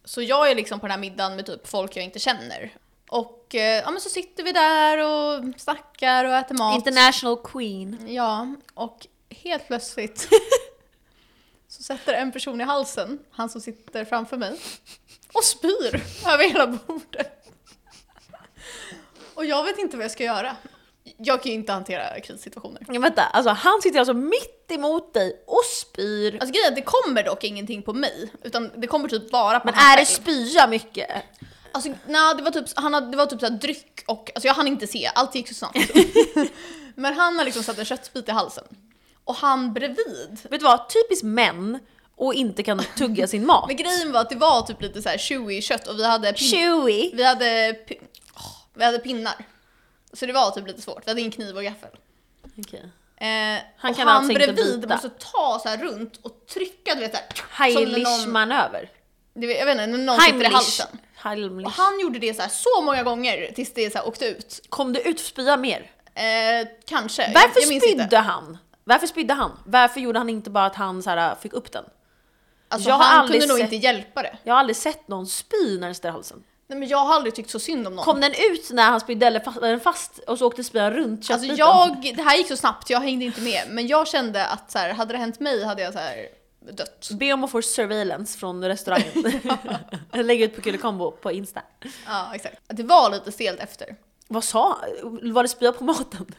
Speaker 1: Så jag är liksom på den här middagen med typ folk jag inte känner. Och eh, ja, men så sitter vi där och snackar och äter mat.
Speaker 2: International queen.
Speaker 1: Ja, och helt plötsligt så sätter en person i halsen, han som sitter framför mig, och spyr över hela bordet. Och jag vet inte vad jag ska göra. Jag kan ju inte hantera krissituationer.
Speaker 2: Ja, vänta, alltså han sitter alltså mitt emot dig och spyr.
Speaker 1: Alltså grejen är att det kommer dock ingenting på mig, utan det kommer typ bara på
Speaker 2: Men
Speaker 1: han
Speaker 2: är det
Speaker 1: själv.
Speaker 2: spya mycket?
Speaker 1: Alltså nej, det var typ, han hade, det var typ så här dryck och, alltså jag hann inte se, allt gick så snabbt. Men han har liksom satt en köttbit i halsen. Och han bredvid
Speaker 2: Vet du vad, typiskt män och inte kan tugga sin mat.
Speaker 1: Men grejen var att det var typ lite så här chewy kött och vi hade, pin-
Speaker 2: Chewy!
Speaker 1: vi hade, pin- åh, vi hade pinnar. Så det var typ lite svårt, vi hade ingen kniv och gaffel.
Speaker 2: Okej.
Speaker 1: Eh,
Speaker 2: Han
Speaker 1: och
Speaker 2: kan
Speaker 1: han
Speaker 2: alltså inte
Speaker 1: bredvid
Speaker 2: bita.
Speaker 1: måste ta så här runt och trycka du vet såhär.
Speaker 2: Heimlich-manöver.
Speaker 1: det vet- jag vet inte, när någon sitter i
Speaker 2: Heimlich.
Speaker 1: halsen. Och
Speaker 2: Heimlich.
Speaker 1: han gjorde det så här så många gånger tills det så här åkte ut.
Speaker 2: Kom det ut spya mer?
Speaker 1: Eh, kanske,
Speaker 2: Varför
Speaker 1: jag minns inte.
Speaker 2: spydde han? Varför spydde han? Varför gjorde han inte bara att han så här, äh, fick upp den?
Speaker 1: Alltså,
Speaker 2: Jag har
Speaker 1: han
Speaker 2: aldrig
Speaker 1: kunde nog
Speaker 2: sett-
Speaker 1: inte hjälpa det.
Speaker 2: Jag har aldrig sett någon spy när den sitter i halsen.
Speaker 1: Nej, men jag har aldrig tyckt så synd om någon.
Speaker 2: Kom den ut när han spydde eller fast, var den fast och så åkte spyan runt
Speaker 1: Alltså
Speaker 2: köttbiten?
Speaker 1: jag, det här gick så snabbt, jag hängde inte med. Men jag kände att så här, hade det hänt mig hade jag så här dött.
Speaker 2: Be om att få surveillance från restaurangen. Lägg ut på Kulekombo på Insta.
Speaker 1: Ja, exakt. Det var lite stelt efter.
Speaker 2: Vad sa Var det spya på maten?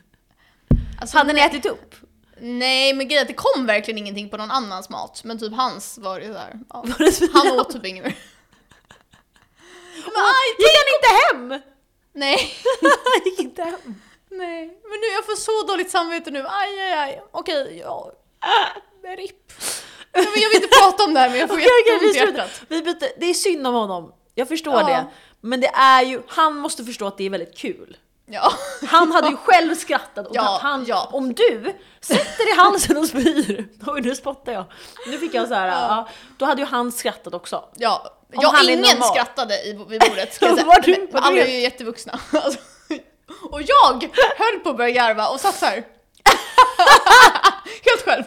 Speaker 1: Alltså,
Speaker 2: Hade ni ätit upp?
Speaker 1: Nej, men grejen är att det kom verkligen ingenting på någon annans mat. Men typ hans var det så här. Ja.
Speaker 2: Var det spya?
Speaker 1: Han åt typ inget mer. Men aj,
Speaker 2: Gick han inte hem?
Speaker 1: nej,
Speaker 2: Han gick inte hem.
Speaker 1: nej. Men nu, jag får så dåligt samvete nu. Aj, aj, aj. Okej, ja. RIP. Jag vill, jag vill inte prata om det här men jag får
Speaker 2: Okej, okej, vi
Speaker 1: jätteont i
Speaker 2: slutar.
Speaker 1: hjärtat.
Speaker 2: Vi byter. Det är synd om honom. Jag förstår
Speaker 1: Ja.
Speaker 2: det. Men det är ju, han måste förstå att det är väldigt kul.
Speaker 1: Ja.
Speaker 2: Han hade ju själv skrattat och
Speaker 1: Ja,
Speaker 2: att han,
Speaker 1: ja.
Speaker 2: om du sätter i halsen och spyr, oj nu spottar jag. Nu fick jag så här, ja. då hade ju han skrattat också.
Speaker 1: Ja,
Speaker 2: Om
Speaker 1: ja
Speaker 2: han är
Speaker 1: ingen
Speaker 2: normal.
Speaker 1: skrattade i, vid bordet ska jag säga.
Speaker 2: Var du-
Speaker 1: Men
Speaker 2: var du
Speaker 1: Alla är
Speaker 2: helt-
Speaker 1: ju jättevuxna. Alltså, och jag höll på att börja garva och satt så här. Helt själv.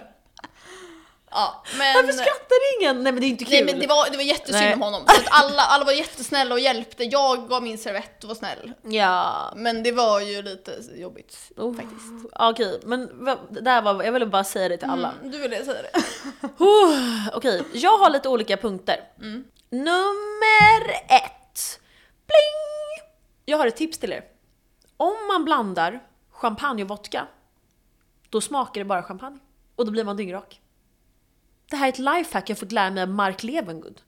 Speaker 1: Ja, men...
Speaker 2: Varför skrattar ingen? Nej men det är inte kul.
Speaker 1: Nej men det var, det var jättesynd
Speaker 2: Nej.
Speaker 1: om honom. Så att alla, alla var jättesnälla och hjälpte. Jag gav min servett och var snäll.
Speaker 2: Ja,
Speaker 1: Men det var ju lite jobbigt.
Speaker 2: oh. faktiskt. Okej, men va- det där var, jag ville bara säga det till alla.
Speaker 1: Mm, du ville säga det.
Speaker 2: Oh, Okej, jag har lite olika punkter. Nummer ett. Bling! Jag har ett tips till er. Om man blandar champagne och vodka, då smakar det bara champagne. Och då blir man dyngrak. Det här är ett lifehack jag fått lära mig av Mark Levengood.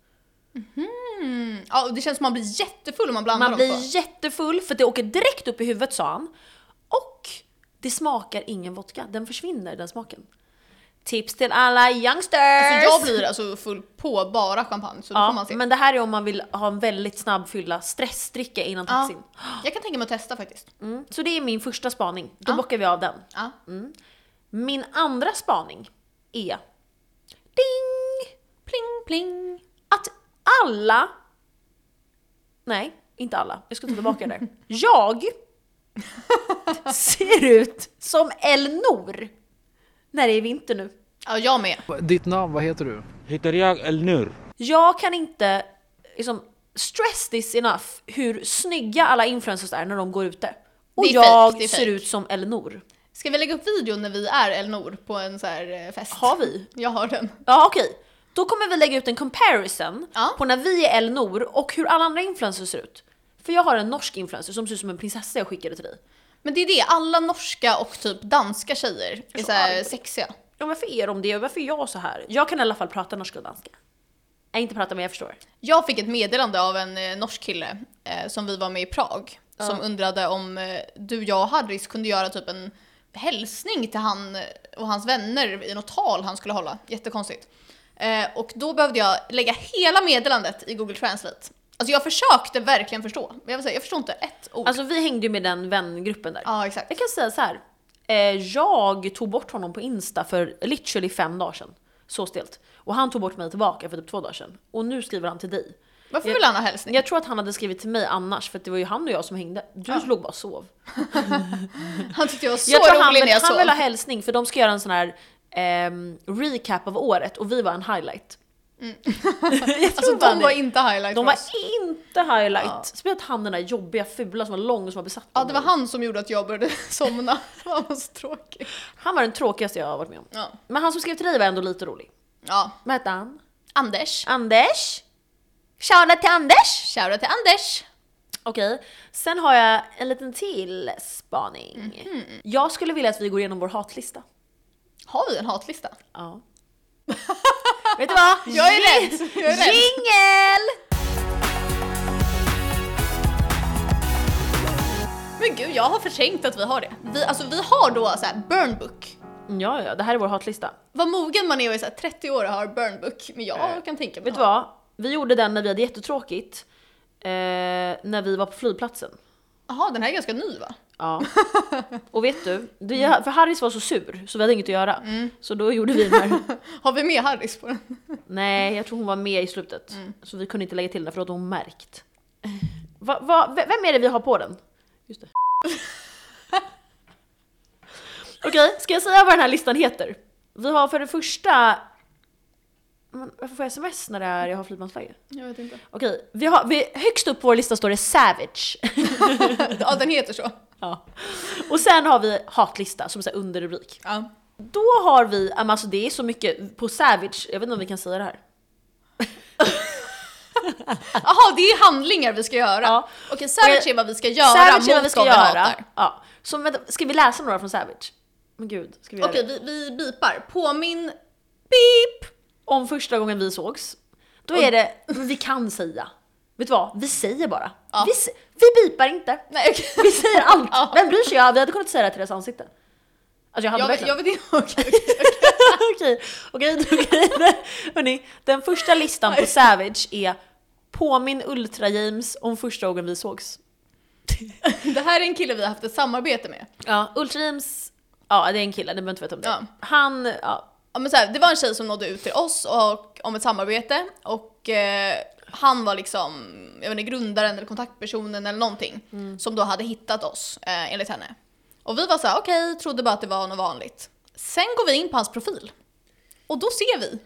Speaker 1: Mm, ja, och det känns som man blir jättefull om man blandar
Speaker 2: Man
Speaker 1: dem
Speaker 2: blir
Speaker 1: så.
Speaker 2: jättefull för att det åker direkt upp i huvudet sa han. Och det smakar ingen vodka, den försvinner den smaken. Tips till alla youngsters!
Speaker 1: Alltså, jag blir alltså full på bara champagne så då får
Speaker 2: Ja,
Speaker 1: man se.
Speaker 2: men det här är om man vill ha en väldigt snabb fylla, stressdricka innan
Speaker 1: Ja.
Speaker 2: taxin.
Speaker 1: Jag kan tänka mig att testa faktiskt.
Speaker 2: Mm. Så det är min första spaning, då bockar vi av den.
Speaker 1: Ja.
Speaker 2: Min andra spaning är ding, pling, pling. Att alla, nej inte alla, jag ska ta tillbaka det. Jag ser ut som Elnor när det är vinter nu.
Speaker 1: Ja, jag med.
Speaker 3: Ditt namn, vad heter du?
Speaker 4: heter jag Elnur.
Speaker 2: Jag kan inte liksom, stress this enough hur snygga alla influencers är när de går ute. Och
Speaker 1: Det är
Speaker 2: jag
Speaker 1: fake, det är
Speaker 2: ser
Speaker 1: fake.
Speaker 2: ut som Elinor.
Speaker 1: Ska vi lägga upp videon när vi är Elnor på en så här eh, fest?
Speaker 2: Har vi?
Speaker 1: Jag har den.
Speaker 2: Ja okej. Då kommer vi lägga ut en comparison
Speaker 1: Ja.
Speaker 2: på när vi är Elinor och hur alla andra influencers ser ut. För jag har en norsk influencer som ser ut som en prinsessa jag skickade till dig.
Speaker 1: Men det är det, alla norska och typ danska tjejer är så här sexiga.
Speaker 2: Ja, varför är de det? Varför är jag så här? Jag kan i alla fall prata norska och danska. Jag inte prata men jag förstår.
Speaker 1: Jag fick ett meddelande av en eh, norsk kille eh, som vi var med i Prag. Som undrade om eh, du, jag och Harris kunde göra typ en hälsning till han eh, och hans vänner i något tal han skulle hålla. Jättekonstigt. Eh, och då behövde jag lägga hela meddelandet i Google Translate. Alltså jag försökte verkligen förstå. Men jag vill säga, jag förstod inte ett ord.
Speaker 2: Alltså vi hängde ju med den vängruppen där.
Speaker 1: ja, exakt.
Speaker 2: Jag kan säga så här. Eh, jag tog bort honom på Insta för literally fem dagar sedan. Så stelt. Och han tog bort mig tillbaka för typ två dagar sedan. Och nu skriver han till dig.
Speaker 1: Varför
Speaker 2: jag-
Speaker 1: vill han ha hälsning?
Speaker 2: Jag tror att han hade skrivit till mig annars för att det var ju han och jag som hängde. Du
Speaker 1: Ja.
Speaker 2: låg bara och sov.
Speaker 1: Han tyckte jag var så
Speaker 2: jag tror han,
Speaker 1: rolig
Speaker 2: vill,
Speaker 1: när jag
Speaker 2: han
Speaker 1: sov. Alltså,
Speaker 2: vill ha hälsning för de ska göra en sån här ehm, recap av året och vi var en highlight. jag tror
Speaker 1: Mm. Alltså
Speaker 2: fan
Speaker 1: de
Speaker 2: det.
Speaker 1: var inte highlight
Speaker 2: de
Speaker 1: för
Speaker 2: var
Speaker 1: oss.
Speaker 2: inte highlight.
Speaker 1: Ja.
Speaker 2: Speciellt han den där jobbiga fula som var lång och som var besatt
Speaker 1: Ja,
Speaker 2: av
Speaker 1: det var
Speaker 2: mig.
Speaker 1: han som gjorde att jag började somna. Han var så tråkig.
Speaker 2: han var den tråkigaste jag har varit med om.
Speaker 1: Ja.
Speaker 2: Men han som skrev till dig var ändå lite rolig.
Speaker 1: ja.
Speaker 2: Vad hette han?
Speaker 1: Anders.
Speaker 2: Anders? Shoutout till Anders!
Speaker 1: Shoutout till Anders!
Speaker 2: Okej, sen har jag en liten till spaning.
Speaker 1: Mm-hmm.
Speaker 2: Jag skulle vilja att vi går igenom vår hatlista.
Speaker 1: Har vi en hatlista?
Speaker 2: Ja. Vet du vad?
Speaker 1: Jag är rädd! Jag är rädd.
Speaker 2: Jingel!
Speaker 1: Men gud, jag har förträngt att vi har det. Vi, alltså, vi har då så här burn book.
Speaker 2: Ja, ja, det här är vår hatlista.
Speaker 1: Vad mogen man är och är så här 30 år och har burn book. Men jag
Speaker 2: Eh,
Speaker 1: kan tänka mig
Speaker 2: Vet du vad? Vi gjorde den när vi hade jättetråkigt. Eh, när vi var på flygplatsen.
Speaker 1: Jaha, den här är ganska ny va?
Speaker 2: Ja. Och vet du? Det, för Harris var så sur så vi hade inget att göra. Så då gjorde vi den här.
Speaker 1: Har vi med Harris på den?
Speaker 2: Nej, jag tror hon var med i slutet. Så vi kunde inte lägga till den för då hade hon märkt. Va, va, ve- vem är det vi har på den? Just det. Okej, ska jag säga vad den här listan heter? Vi har för det första... Men varför får jag sms när det är jag har flygplansläge?
Speaker 1: Jag vet inte.
Speaker 2: Okej, vi har, vi, högst upp på vår lista står det Savage.
Speaker 1: Ja, den heter så.
Speaker 2: ja. Och sen har vi hatlista som är så här underrubrik.
Speaker 1: Ja.
Speaker 2: Då har vi, ja, men alltså det är så mycket på Savage, jag vet inte om vi kan säga det här.
Speaker 1: Jaha, det är handlingar vi ska göra.
Speaker 2: Ja.
Speaker 1: Okej, Savage är vad vi ska göra
Speaker 2: Savage
Speaker 1: mot
Speaker 2: är vad vi ska
Speaker 1: vad vi
Speaker 2: göra.
Speaker 1: hatar.
Speaker 2: Ja. Så vänta, ska vi läsa några från Savage? Men gud, ska vi göra
Speaker 1: Okej,
Speaker 2: det?
Speaker 1: vi, vi bipar. Påminn... Beep!
Speaker 2: Om första gången vi sågs, då är det, men vi kan säga. Vet du vad? Vi säger bara.
Speaker 1: Ja.
Speaker 2: Vi, s- vi bipar inte.
Speaker 1: Nej, okej.
Speaker 2: Vi säger allt.
Speaker 1: Ja.
Speaker 2: Vem bryr sig? Ja, vi hade kunnat säga det till deras ansikte. Alltså jag hade
Speaker 1: Jag, vet-
Speaker 2: verkligen...
Speaker 1: jag vet inte. Okej, okej.
Speaker 2: okej, okej, okej. Hörrni, den första listan på Savage är Påminn Ultra-James om första gången vi sågs.
Speaker 1: Det här är en kille vi har haft ett samarbete med.
Speaker 2: Ja, Ultra-James, ja det är en kille, ni behöver inte veta om det.
Speaker 1: Ja.
Speaker 2: Han, ja,
Speaker 1: Ja, men så här, det var en tjej som nådde ut till oss och, om ett samarbete och eh, han var liksom, jag vet inte, grundaren eller kontaktpersonen eller någonting
Speaker 2: Mm.
Speaker 1: som då hade hittat oss eh, enligt henne. Och vi var så här, okej, trodde bara att det var något vanligt. Sen går vi in på hans profil och då ser vi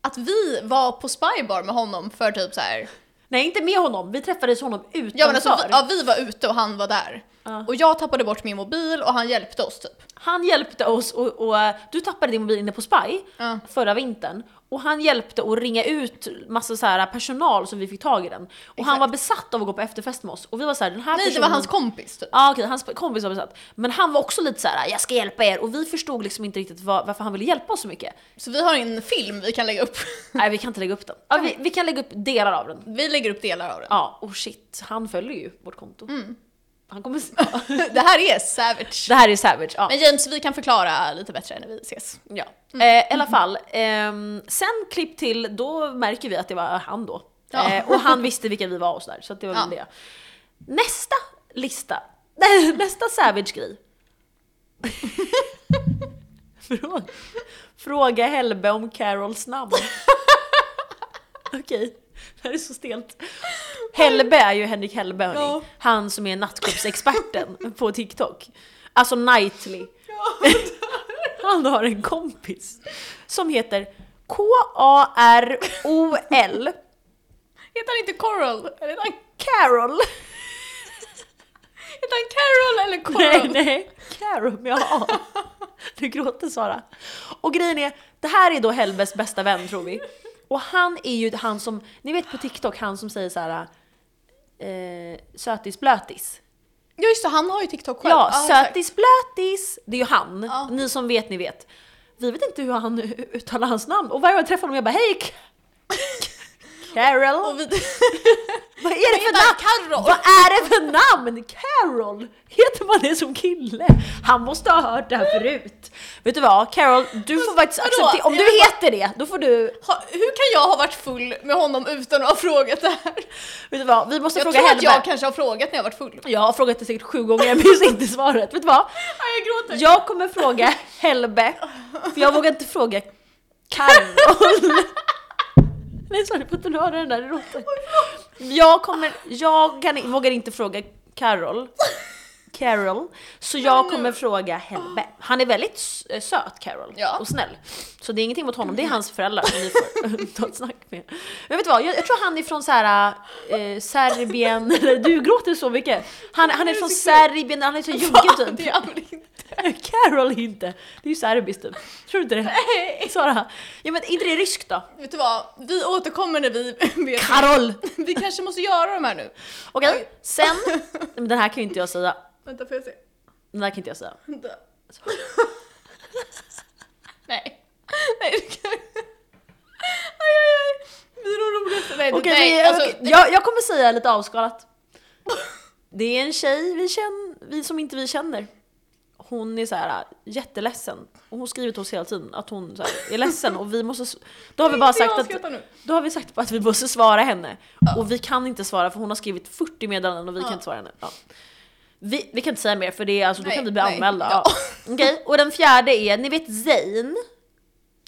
Speaker 1: att vi var på Spybar med honom för typ så här
Speaker 2: nej inte med honom, vi träffades honom utanför.
Speaker 1: ja, men alltså, vi, ja, vi var ute och han var där.
Speaker 2: Ja.
Speaker 1: Och jag tappade bort min mobil och han hjälpte oss typ.
Speaker 2: Han hjälpte oss och, och eh, du tappade din mobil inne på Spy
Speaker 1: Ja.
Speaker 2: förra vintern och han hjälpte att ringa ut massa så här personal som vi fick tag i den. Och han
Speaker 1: Exakt.
Speaker 2: var besatt av att gå på efterfest med oss och vi var så här, den här
Speaker 1: Nej, det
Speaker 2: personen...
Speaker 1: var hans kompis typ.
Speaker 2: Ja okej, hans kompis var besatt. Men han var också lite så här: jag ska hjälpa er och vi förstod liksom inte riktigt vad, varför han ville hjälpa oss så mycket.
Speaker 1: Så vi har en film vi kan lägga upp.
Speaker 2: Nej vi kan inte lägga upp den. Ja, vi, vi kan lägga upp delar av den.
Speaker 1: Vi lägger upp delar av den.
Speaker 2: Ja, och shit, han följer ju vårt konto. Han kommer...
Speaker 1: Det här är savage.
Speaker 2: det här är savage. Ja.
Speaker 1: Men James, vi kan förklara lite bättre när vi ses.
Speaker 2: Ja.
Speaker 1: Mm.
Speaker 2: Eh, I alla fall, ehm, sen klipp till, då märker vi att det var han då.
Speaker 1: Ja.
Speaker 2: Eh, och han visste vilka vi var och sådär, så att det var väl
Speaker 1: Ja.
Speaker 2: det. Nästa lista, nästa Savage-grej. Fråga, fråga Helbe om Carols namn. Okej, det här är så stelt. Helbe är ju Henrik Helbe hörni.
Speaker 1: Ja.
Speaker 2: Han som är nattklubbsexperten på TikTok. Alltså Nightly. Han har en kompis som heter K-A-R-O-L
Speaker 1: Heter han inte Coral? Eller heter han,
Speaker 2: Carol.
Speaker 1: heter han Carol eller Coral?
Speaker 2: Nej, nej. Carol med A. Du gråter Sara. Och grejen är, det här är då Helbes bästa vän tror vi. Och han är ju han som, ni vet på TikTok, han som säger så här. Eh, sötis blötis.
Speaker 1: Ja just det, han har ju TikTok själv.
Speaker 2: Ja,
Speaker 1: exakt.
Speaker 2: sötis blötis. Det är ju han.
Speaker 1: Ja.
Speaker 2: Ni som vet, ni vet. vi vet inte hur han uttalar hans namn. Och varje gång jag träffar honom jag bara hej! K- Carol!
Speaker 1: Och vi...
Speaker 2: Vad är det för
Speaker 1: Vänta,
Speaker 2: namn?
Speaker 1: Carro!
Speaker 2: Vad är det för namn? Carol! Heter man det som kille? Han måste ha hört det här förut. Vet du vad? Carol, du får faktiskt
Speaker 1: Vadå?
Speaker 2: acceptera... Om du
Speaker 1: Jag bara-
Speaker 2: heter det, då får du...
Speaker 1: Ha- Hur kan jag ha varit full med honom utan att ha frågat det här?
Speaker 2: Vet du vad? Vi måste
Speaker 1: Jag
Speaker 2: fråga
Speaker 1: tror att
Speaker 2: Hellberg.
Speaker 1: jag kanske har frågat när jag varit full.
Speaker 2: Jag har frågat det säkert sju gånger, jag minns inte svaret. Vet du vad?
Speaker 1: Nej, jag gråter.
Speaker 2: Jag kommer fråga Helbe, för jag vågar inte fråga Carol. Nej sorry, får inte du höra den där roten? Jag kommer, jag kan, vågar inte fråga Carol. Carol. Så jag kommer fråga Helbe. Han är väldigt s- eh, söt Carol
Speaker 1: Ja.
Speaker 2: och snäll. Så det är ingenting mot honom, det är hans föräldrar som vi får ta ett snack med. Men vet du vad, jag, jag tror han är från så här, eh, Serbien, du gråter så mycket. Han, han är från Serbien, han är så juggig typ.
Speaker 1: Det är väl inte.
Speaker 2: Carol inte! Det är ju serbiskt typ. Tror du inte det?
Speaker 1: Nej.
Speaker 2: Sara? Ja men inte det är ryskt då?
Speaker 1: Vet du vad? Vi återkommer när vi vet.
Speaker 2: Karol!
Speaker 1: Vi kanske måste göra de här nu.
Speaker 2: Okej, sen... Nej, Men den här kan ju inte jag säga.
Speaker 1: Vänta, får jag se?
Speaker 2: Den här kan inte jag säga.
Speaker 1: Vänta. Nej. Nej, du kan... Aj, aj, aj. Vi är de roligaste. Nej,
Speaker 2: Okej,
Speaker 1: nej.
Speaker 2: vi,
Speaker 1: alltså,
Speaker 2: okej, jag, jag kommer säga lite avskalat. Det är en tjej vi känner, vi som inte vi känner. Hon är så här äh, jätteledsen. Och hon skriver till oss hela tiden att hon så här, är ledsen och vi måste... s- Då har vi bara
Speaker 1: inte jag
Speaker 2: sagt att...
Speaker 1: skrattar nu.
Speaker 2: Då har vi sagt bara att vi måste svara henne. Och vi kan inte svara för hon har skrivit 40 meddelanden och vi kan
Speaker 1: Ja.
Speaker 2: inte svara henne. Ja. Vi, vi kan inte säga mer för det är, alltså, då
Speaker 1: Nej,
Speaker 2: kan vi bli
Speaker 1: nej.
Speaker 2: anmälda.
Speaker 1: Ja.
Speaker 2: Ja. Okej, och den fjärde är, ni vet Zayn,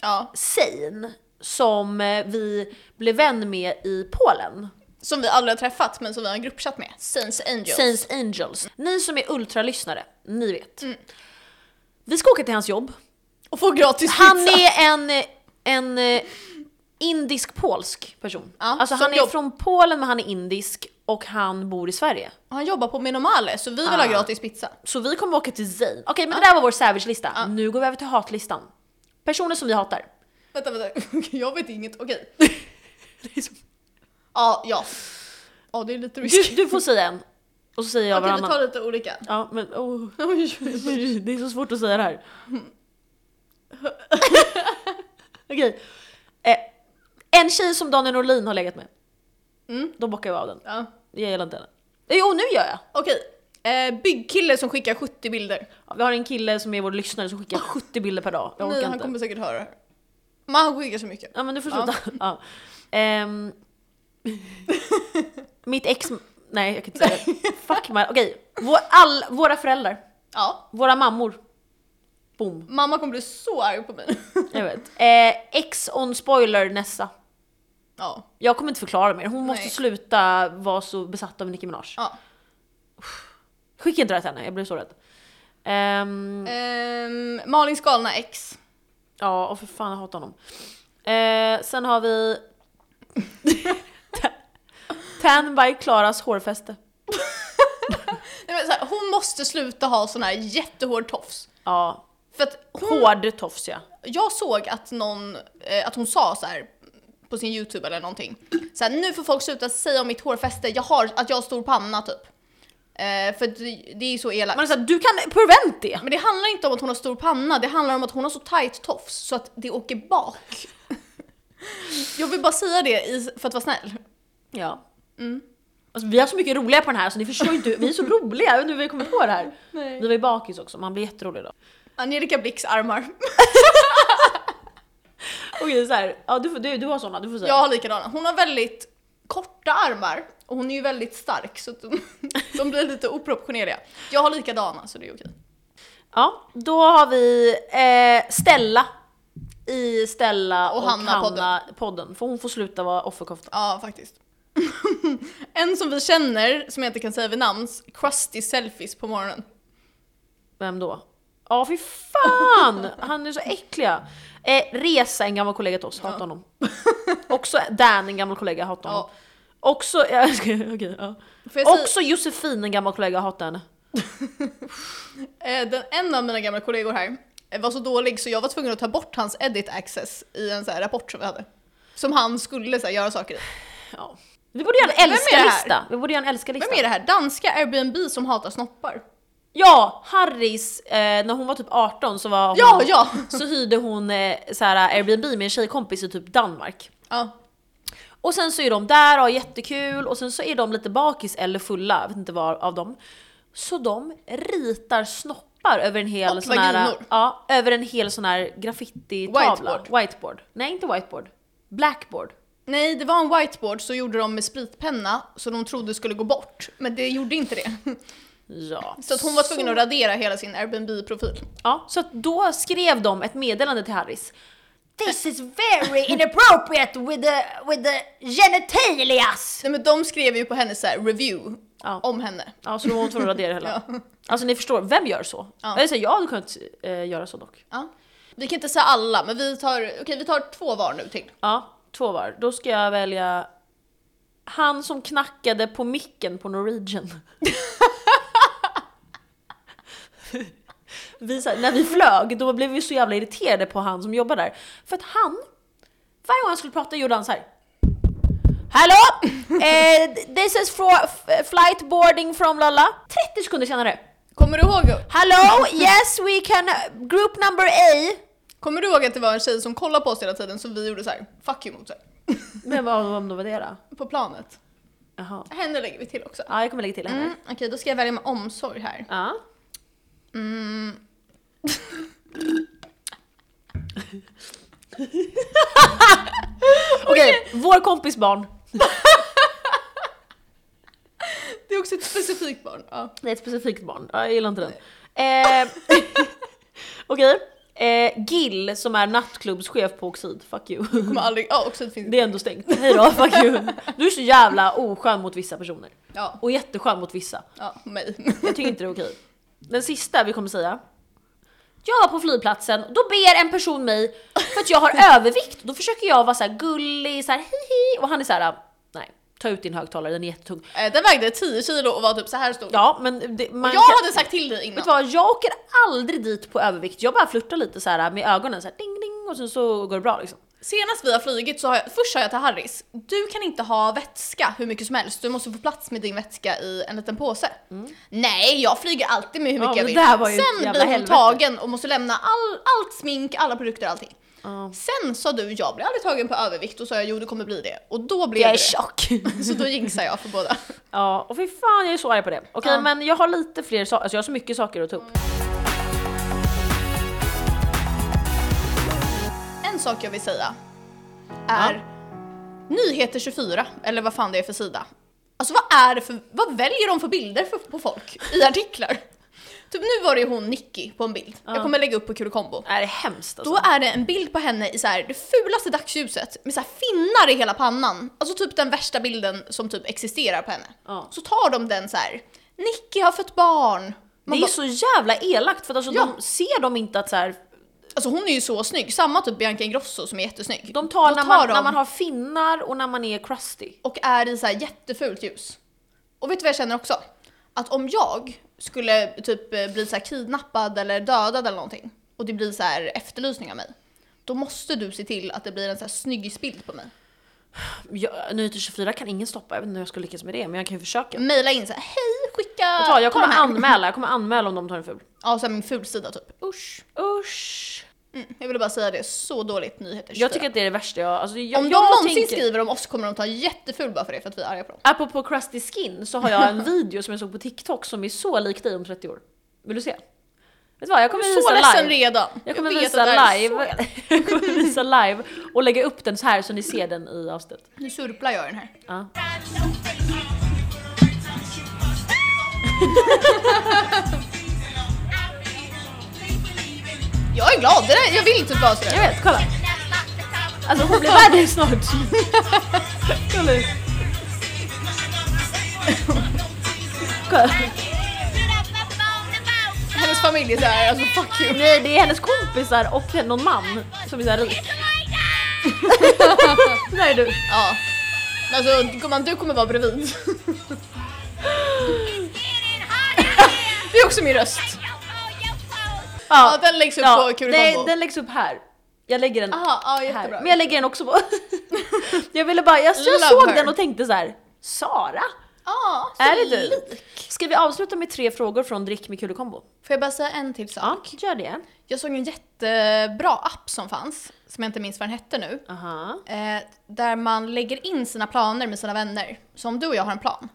Speaker 1: Ja,
Speaker 2: Zayn som eh, vi blev vän med i Polen.
Speaker 1: som vi aldrig har träffat men som vi har en gruppchatt med. Saints Angels.
Speaker 2: Saints Angels. Ni som är ultralyssnare, ni vet.
Speaker 1: Mm.
Speaker 2: Vi ska åka till hans jobb.
Speaker 1: Och få gratis
Speaker 2: Han
Speaker 1: pizza.
Speaker 2: är en, eh, en eh, indisk-polsk person.
Speaker 1: Ja,
Speaker 2: alltså
Speaker 1: som
Speaker 2: han är
Speaker 1: jobb-
Speaker 2: från Polen men han är indisk och han bor i Sverige.
Speaker 1: Han jobbar på Minomale så vi vill ha
Speaker 2: Ah.
Speaker 1: gratis pizza.
Speaker 2: Så vi kommer åka till Zayn. Okej men det där var vår savage-lista. Nu går vi över till hatlistan. Personer som vi hatar.
Speaker 1: Vänta, vänta. Jag vet inget. Okej.
Speaker 2: Det är så-
Speaker 1: Ja, ja. Ja, det är lite
Speaker 2: Du,
Speaker 1: risky.
Speaker 2: du får säga en. Och så säger jag
Speaker 1: Okej, vi
Speaker 2: varannan.
Speaker 1: tar lite olika.
Speaker 2: Ja men oh. Det är så svårt att säga det här. Okej. Eh, en tjej som Daniel Norlin har legat med.
Speaker 1: Mm.
Speaker 2: Då bockar jag av den.
Speaker 1: Ja.
Speaker 2: Jag gillar inte henne. Jo nu gör jag!
Speaker 1: Okej. Eh, byggkille som skickar 70 bilder.
Speaker 2: Ja, Vi har en kille som är vår lyssnare som skickar 70 bilder per dag. Jag
Speaker 1: Nej,
Speaker 2: orkar
Speaker 1: han
Speaker 2: inte.
Speaker 1: kommer säkert höra det här. Men han skickar så mycket.
Speaker 2: Ja men du får
Speaker 1: Ja.
Speaker 2: sluta. Ja. Ehm, mitt ex... Nej jag kan inte säga det. Fuck man. Okej, vår, all, våra föräldrar.
Speaker 1: Ja.
Speaker 2: Våra mammor. Boom.
Speaker 1: Mamma kommer bli så arg på mig.
Speaker 2: Jag vet. Eh, ex on spoiler Nessa.
Speaker 1: ja.
Speaker 2: Jag kommer inte förklara mer. Hon måste
Speaker 1: Nej.
Speaker 2: sluta vara så besatt av Nicki Minaj.
Speaker 1: ja.
Speaker 2: Skicka inte det här till henne, jag blir så rädd. Ehm,
Speaker 1: Ehm, Malins galna ex.
Speaker 2: Ja, och för fan jag hatar honom. Eh, sen har vi... Tan by Klaras hårfäste.
Speaker 1: Nej, men så här, hon måste sluta ha sån här jättehård tofs.
Speaker 2: Ja,
Speaker 1: För att hon,
Speaker 2: hård tofs ja.
Speaker 1: jag såg att någon, eh, att hon sa så här på sin youtube eller någonting. Så här, nu får folk sluta säga om mitt hårfäste, jag har, att jag har stor panna typ. Eh, för det, det är ju så elakt.
Speaker 2: Man är såhär, du kan prevent det!
Speaker 1: Men det handlar inte om att hon har stor panna, det handlar om att hon har så tight tofs så att det åker bak. Jag vill bara säga det i- för att vara snäll.
Speaker 2: Ja. Alltså, vi har så mycket roliga på den här så ni förstår inte, vi är så roliga, jag vet inte hur vi kommer på det här. Vi var ju bakis också, man blir jätterolig då.
Speaker 1: Angelica Blicks armar.
Speaker 2: Okej såhär, ja, du, får- du, du har såna, du får säga.
Speaker 1: Jag har likadana. Hon har väldigt korta armar och hon är ju väldigt stark så att de, de blir lite oproportionerliga. Jag har likadana så det är okej.
Speaker 2: Ja, då har vi eh, Stella i Stella
Speaker 1: Och
Speaker 2: och,
Speaker 1: Hanna-podden.
Speaker 2: Hanna-podden. för hon får sluta vara offerkofta.
Speaker 1: Ja, faktiskt. en som vi känner, som jag inte kan säga vid namns, crusty selfies på morgonen.
Speaker 2: Vem då? Ja, fy fan! Han är så äckliga. Eh, Resa, en gammal kollega till oss, hatar honom. Också Dan, en gammal kollega, hatar honom.
Speaker 1: Ja.
Speaker 2: Också, ja, okej, okej, ja.
Speaker 1: Får jag säga-
Speaker 2: Också Josefin, en gammal kollega, hatar henne.
Speaker 1: Eh, den, en av mina gamla kollegor här eh, var så dålig så jag var tvungen att ta bort hans edit access i en så här rapport som vi hade. Som han skulle så här, göra saker i.
Speaker 2: Ja. Vi borde göra
Speaker 1: Vem är
Speaker 2: en
Speaker 1: det här?
Speaker 2: älskarlista. Vi borde göra en
Speaker 1: Vem
Speaker 2: älskarlista.
Speaker 1: är det här? Danska Airbnb som hatar snoppar.
Speaker 2: Ja, Harris, eh, när hon var typ 18 så, var hon,
Speaker 1: Ja, ja!
Speaker 2: så hyrde hon eh, så här, Airbnb med en tjejkompis i typ Danmark.
Speaker 1: ja.
Speaker 2: Och sen så är de där och har jättekul och sen så är de lite bakis eller fulla, jag vet inte vad av dem. Så de ritar snoppar över en hel
Speaker 1: Och
Speaker 2: sån här...
Speaker 1: vaginor.
Speaker 2: Ja, över en hel sån här graffititavla.
Speaker 1: Whiteboard.
Speaker 2: whiteboard. Nej, inte whiteboard. Blackboard.
Speaker 1: Nej, det var en whiteboard så gjorde de med spritpenna så de trodde skulle gå bort. Men det gjorde inte det.
Speaker 2: Ja.
Speaker 1: Så att hon var tvungen att radera hela sin Airbnb-profil.
Speaker 2: Ja, så att då skrev de ett meddelande till Harris. This is very inappropriate with the, with the genitalias!
Speaker 1: Nej men de skrev ju på hennes så här, review
Speaker 2: Ja.
Speaker 1: om henne.
Speaker 2: Ja, så då var hon tvungen att radera hela.
Speaker 1: Ja.
Speaker 2: Alltså ni förstår, vem gör så?
Speaker 1: Ja.
Speaker 2: Eller så, jag hade kunnat eh, göra så dock.
Speaker 1: Ja. Vi kan inte säga alla, men vi tar, okej, vi tar två var nu till.
Speaker 2: Ja, två var. Då ska jag välja han som knackade på micken på Norwegian. vi, så här, när vi flög, då blev vi så jävla irriterade på han som jobbar där. För att han, varje gång han skulle prata gjorde han så här. Hallå! Eh, this is for f- flight boarding from lala. 30 sekunder senare.
Speaker 1: Kommer du ihåg,
Speaker 2: Hello, yes we can, group number A.
Speaker 1: kommer du ihåg att det var en tjej som kollade på oss hela tiden som vi gjorde så här, fuck you mot sig.
Speaker 2: Men vad om det var det då?
Speaker 1: På planet.
Speaker 2: Jaha.
Speaker 1: Henne lägger vi till också.
Speaker 2: Ja, jag kommer lägga till henne.
Speaker 1: Mm, okej, då ska jag välja med omsorg här.
Speaker 2: Ja. Mm. Okej, vår kompis barn.
Speaker 1: Det är också ett specifikt barn. Ja.
Speaker 2: Det är ett specifikt barn. Ja, jag gillar inte den. Eh, Okej. Eh, Gill som är nattklubbschef på Oxid, fuck you.
Speaker 1: Kommer aldrig, ja också finns
Speaker 2: Det är ändå stängt. Hej då, fuck you. Du är så jävla oskön mot vissa personer.
Speaker 1: Ja,
Speaker 2: Och jätteskön mot vissa.
Speaker 1: ja, mig.
Speaker 2: Jag tycker inte det är okej. Den sista vi kommer säga. Jag var på flygplatsen, då ber en person mig för att jag har övervikt. Då försöker jag vara så här gullig, så här hihi, och han är så här. nej, ta ut din högtalare, den är jättetung.
Speaker 1: Eh, Den vägde 10 kilo och var typ så här stor.
Speaker 2: Ja, men det, man
Speaker 1: Jag hade sagt till dig
Speaker 2: Vet
Speaker 1: innan.
Speaker 2: du vad, jag åker aldrig dit på övervikt. Jag bara flörtar lite så här med ögonen, så här ding ding, och sen så går det bra liksom.
Speaker 1: Senast vi har flugit så har jag, först sa jag till Harris, du kan inte ha vätska hur mycket som helst, du måste få plats med din vätska i en liten påse. Nej, jag flyger alltid med hur
Speaker 2: Mm. Ja,
Speaker 1: mycket jag vill.
Speaker 2: men det här var ju ett
Speaker 1: Sen
Speaker 2: jävla
Speaker 1: blir hon
Speaker 2: helvete.
Speaker 1: tagen och måste lämna all, allt smink, alla produkter, allting.
Speaker 2: Ja.
Speaker 1: Sen sa du, jag blir aldrig tagen på övervikt och sa jag, jo du kommer bli det. Och då blev
Speaker 2: Jag är
Speaker 1: det.
Speaker 2: tjock!
Speaker 1: Så då jinxar jag för båda.
Speaker 2: ja, och fy fan jag är så arg på det. Okej,
Speaker 1: Ja. Mm.
Speaker 2: men jag har lite fler saker, alltså jag har så mycket saker att ta upp.
Speaker 1: En sak jag vill säga är Nyheter 24, eller vad fan det är för sida. Alltså vad är det för, vad väljer de för bilder för, på folk i artiklar? typ nu var det ju hon Nicky på en bild. Jag kommer lägga upp på Kurokombo.
Speaker 2: Det här är hemskt alltså.
Speaker 1: Då är det en bild på henne i så här, det fulaste dagsljuset med så här finnar i hela pannan. Alltså typ den värsta bilden som typ existerar på henne.
Speaker 2: Ja.
Speaker 1: Så tar de den så här. Nicky har fött barn. Man
Speaker 2: det är
Speaker 1: bara,
Speaker 2: så jävla elakt för att alltså,
Speaker 1: Ja.
Speaker 2: de ser de inte att så här,
Speaker 1: alltså hon är ju så snygg, samma typ Bianca Ingrosso som är jättesnygg.
Speaker 2: de tar,
Speaker 1: Då
Speaker 2: när, man,
Speaker 1: de-
Speaker 2: när man har finnar och när man är crusty.
Speaker 1: och är i så här jättefult ljus. Och vet du vad jag känner också? Att om jag skulle typ eh, bli så här kidnappad eller dödad eller någonting och det blir så här efterlysning av mig. Då måste du se till att det blir en så här snyggisbild på mig.
Speaker 2: Jag, Nyheter 24 kan ingen stoppa, jag vet inte hur jag ska lyckas med det men jag kan ju försöka.
Speaker 1: Maila in så här, hej skicka...
Speaker 2: Jag, tar, jag
Speaker 1: Mm. ta de
Speaker 2: kommer
Speaker 1: här."
Speaker 2: anmäla, jag kommer anmäla om de tar en ful.
Speaker 1: Ja, så här min fulsida typ. Usch.
Speaker 2: Usch.
Speaker 1: Mm, jag ville bara säga det, så dåligt nyheter.
Speaker 2: Jag tycker att det är det värsta jag... Alltså, jag
Speaker 1: om de
Speaker 2: jag
Speaker 1: någonsin
Speaker 2: tänker-
Speaker 1: skriver om oss kommer de ta jätteful bara för det, för att vi är arga på dem.
Speaker 2: Apropå crusty skin så har jag en video som jag såg på TikTok som är så lik dig om 30 år. Vill du se? Vet du vad, jag
Speaker 1: Jag
Speaker 2: kommer
Speaker 1: är så
Speaker 2: visa
Speaker 1: ledsen
Speaker 2: live.
Speaker 1: redan.
Speaker 2: Jag kommer
Speaker 1: vet
Speaker 2: visa
Speaker 1: att det här är så-
Speaker 2: live. jag kommer visa live och lägga upp den så här så ni ser den i avsnittet.
Speaker 1: Nu surplar jag den här.
Speaker 2: Ja.
Speaker 1: Jag är glad, det där, jag vill typ vara sådär.
Speaker 2: Jag vet, kolla. Alltså hon blir värre snart. kolla. kolla.
Speaker 1: Hennes familj är såhär, alltså fuck you.
Speaker 2: Nej, det är hennes kompisar och någon man som är så här rik. Nej du.
Speaker 1: Ja. Men Alltså gumman, du kommer vara bredvid. Det är också min röst.
Speaker 2: oh.
Speaker 1: Ja, den läggs upp på
Speaker 2: Nej,
Speaker 1: Kuribambo.
Speaker 2: den läggs upp här. Jag lägger den
Speaker 1: Aha, ja
Speaker 2: här.
Speaker 1: jättebra.
Speaker 2: Men jag lägger den också på... jag ville bara, jag, jag
Speaker 1: Love
Speaker 2: såg
Speaker 1: her.
Speaker 2: den och tänkte så här. Sara?
Speaker 1: Ja, så
Speaker 2: Är det du?
Speaker 1: lik.
Speaker 2: Ska vi avsluta med tre frågor från Drick med kul-kombo?
Speaker 1: Får jag bara säga en till sak?
Speaker 2: gör det.
Speaker 1: Jag såg en jättebra app som fanns, som jag inte minns vad den hette nu.
Speaker 2: Aha.
Speaker 1: Eh, där man lägger in sina planer med sina vänner. Så om du och jag har en plan,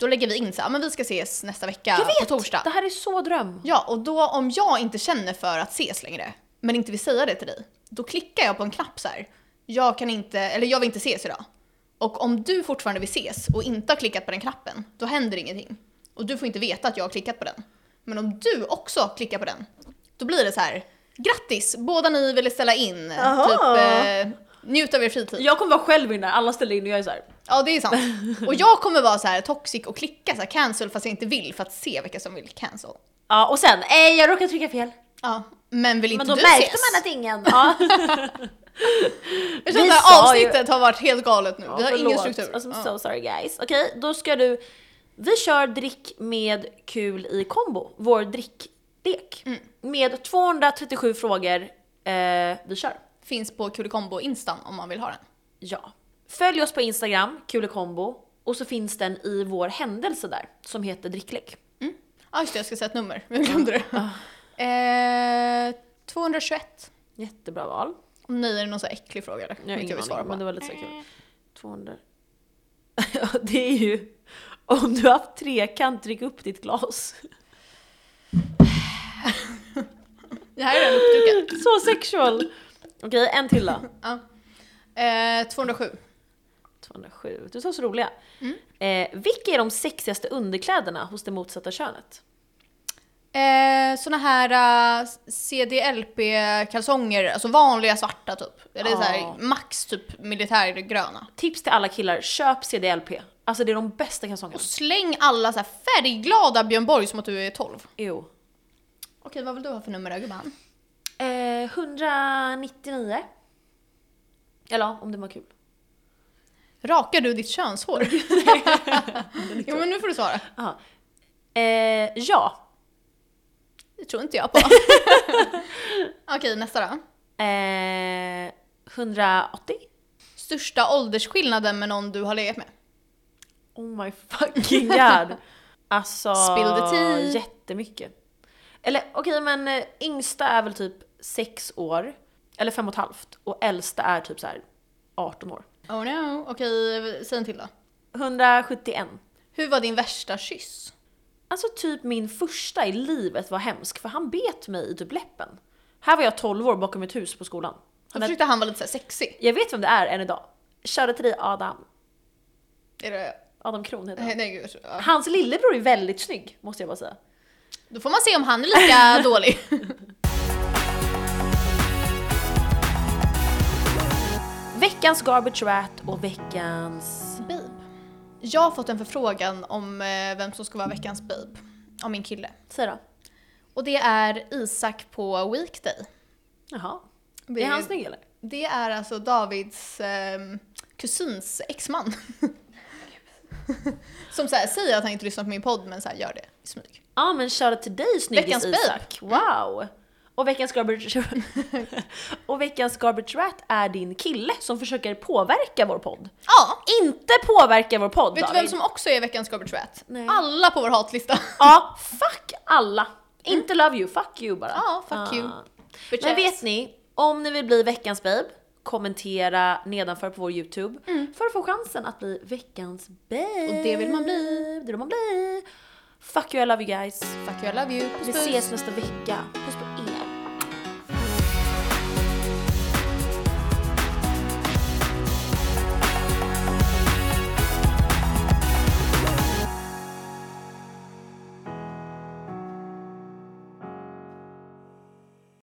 Speaker 1: då lägger vi in så här, "Ah, men vi ska ses nästa vecka
Speaker 2: Jag vet!
Speaker 1: på torsdag.
Speaker 2: Det här är så dröm.
Speaker 1: Ja, och då om jag inte känner för att ses längre, men inte vill säga det till dig, då klickar jag på en knapp så här. Jag kan inte, eller jag vill inte ses idag. Och om du fortfarande vill ses och inte har klickat på den knappen, då händer ingenting. Och du får inte veta att jag har klickat på den. Men om du också klickar på den, då blir det så här. Grattis! Båda ni ville ställa in.
Speaker 2: Aha.
Speaker 1: Typ, eh, njut av er fritid.
Speaker 2: Jag kommer vara själv inne, alla ställer in och jag är såhär
Speaker 1: Ja, det är sant. Och jag kommer vara så här toxic och klicka så här cancel fast jag inte vill för att se vilka som vill cancel.
Speaker 2: Ja och sen, eh, jag råkade trycka fel.
Speaker 1: Ja, men vill inte
Speaker 2: Men då
Speaker 1: du
Speaker 2: märkte
Speaker 1: ses?
Speaker 2: man att ingen... Ja.
Speaker 1: Jag känner
Speaker 2: Vi
Speaker 1: att det här
Speaker 2: sa
Speaker 1: avsnittet har varit helt galet nu. vi har ingen
Speaker 2: Förlåt.
Speaker 1: struktur.
Speaker 2: Alltså, I'm
Speaker 1: ja.
Speaker 2: so sorry guys. Okej, då ska du... Vi kör drick med kul i kombo, vår dricklek.
Speaker 1: Mm.
Speaker 2: Med 237 frågor. Eh, vi kör.
Speaker 1: Finns på Kulikombo instan om man vill ha den.
Speaker 2: Ja. Följ oss på Instagram, kul i kombo. Och så finns den i vår händelse där, som heter dricklek.
Speaker 1: Ja Ah, just det, jag ska säga ett nummer. Jag glömde det.
Speaker 2: Ah.
Speaker 1: Eh, 221.
Speaker 2: Jättebra val.
Speaker 1: Om ni är det någon så här äcklig fråga eller?
Speaker 2: Jag har
Speaker 1: Inte
Speaker 2: ingen
Speaker 1: vill svara
Speaker 2: aning,
Speaker 1: på.
Speaker 2: men det var lite så kul. 200... Ja, det är ju... Om du har haft trekant, drick upp ditt glas.
Speaker 1: Det här är den uppdukad.
Speaker 2: Så sexual! Okej, en till då.
Speaker 1: Ja. Eh, 207.
Speaker 2: 207. Du sa så roliga. Eh, vilka är de sexigaste underkläderna hos det motsatta könet?
Speaker 1: Eh, såna här eh, CDLP-kalsonger, alltså vanliga svarta typ. Eller så
Speaker 2: Ja.
Speaker 1: här, max typ militärgröna.
Speaker 2: Tips till alla killar, köp CDLP. Alltså det är de bästa kalsongerna.
Speaker 1: Och släng alla så här färgglada Björn Borg som att du är 12.
Speaker 2: Jo.
Speaker 1: Okej, vad vill du ha för nummer då gumman?
Speaker 2: Eh, 199. Eller ja, om det var kul.
Speaker 1: Rakar du ditt könshår? jo men nu får du svara.
Speaker 2: Aha. Eh, ja.
Speaker 1: Det tror inte jag på. Okej, nästa då.
Speaker 2: Eh, 180.
Speaker 1: Största åldersskillnaden med någon du har legat med?
Speaker 2: Oh my fucking god. Alltså,
Speaker 1: Spill the tea.
Speaker 2: jättemycket. Eller okej, men eh, yngsta är väl typ sex år, eller fem och ett halvt, och äldsta är typ så här 18 år.
Speaker 1: Oh no. Okej, säg en till då.
Speaker 2: 171.
Speaker 1: Hur var din värsta kyss?
Speaker 2: Alltså typ min första i livet var hemsk, för han bet mig i typ läppen. Här var jag 12 år bakom ett hus på skolan.
Speaker 1: Då
Speaker 2: Han är,
Speaker 1: försökte han vara lite så här sexy.
Speaker 2: jag vet vem det är än idag. Körde till dig Adam.
Speaker 1: Är det...
Speaker 2: Adam Kron heter
Speaker 1: Nej,
Speaker 2: han.
Speaker 1: nej, gud. Ja.
Speaker 2: Hans lillebror är väldigt snygg, måste jag bara säga.
Speaker 1: Då får man se om han är lika dålig.
Speaker 2: Veckans Garbage Rat och veckans...
Speaker 1: Babe. Jag har fått en förfrågan om eh, vem som ska vara veckans babe. Av min kille.
Speaker 2: Säg då.
Speaker 1: Och det är Isak på Weekday.
Speaker 2: Jaha.
Speaker 1: Det
Speaker 2: Är han snygg eller?
Speaker 1: Det är alltså Davids ehm, kusins exman. Som så här, säger att han inte lyssnar på min podd men så här, gör det i smyg.
Speaker 2: Ja men köra till dig snyggis
Speaker 1: Veckans babe.
Speaker 2: Isak. Wow! Och veckans garbage... och veckans garbage rat är din kille som försöker påverka vår podd.
Speaker 1: Ja!
Speaker 2: Inte påverka vår podd
Speaker 1: Vet du vem som också är veckans garbage rat?
Speaker 2: Nej.
Speaker 1: Alla på vår hatlista.
Speaker 2: Ja, fuck alla! Inte love you, fuck you bara.
Speaker 1: Mm.
Speaker 2: Ah.
Speaker 1: Ja, fuck you. Bitches.
Speaker 2: Men vet ni, om ni vill bli veckans babe, kommentera nedanför på vår YouTube för att få chansen att bli veckans babe.
Speaker 1: Mm. Och det vill man bli.
Speaker 2: Det vill man bli. Fuck you, I love you guys.
Speaker 1: Fuck you, I love you. Puss,
Speaker 2: Vi
Speaker 1: puss.
Speaker 2: ses nästa vecka. Puss puss.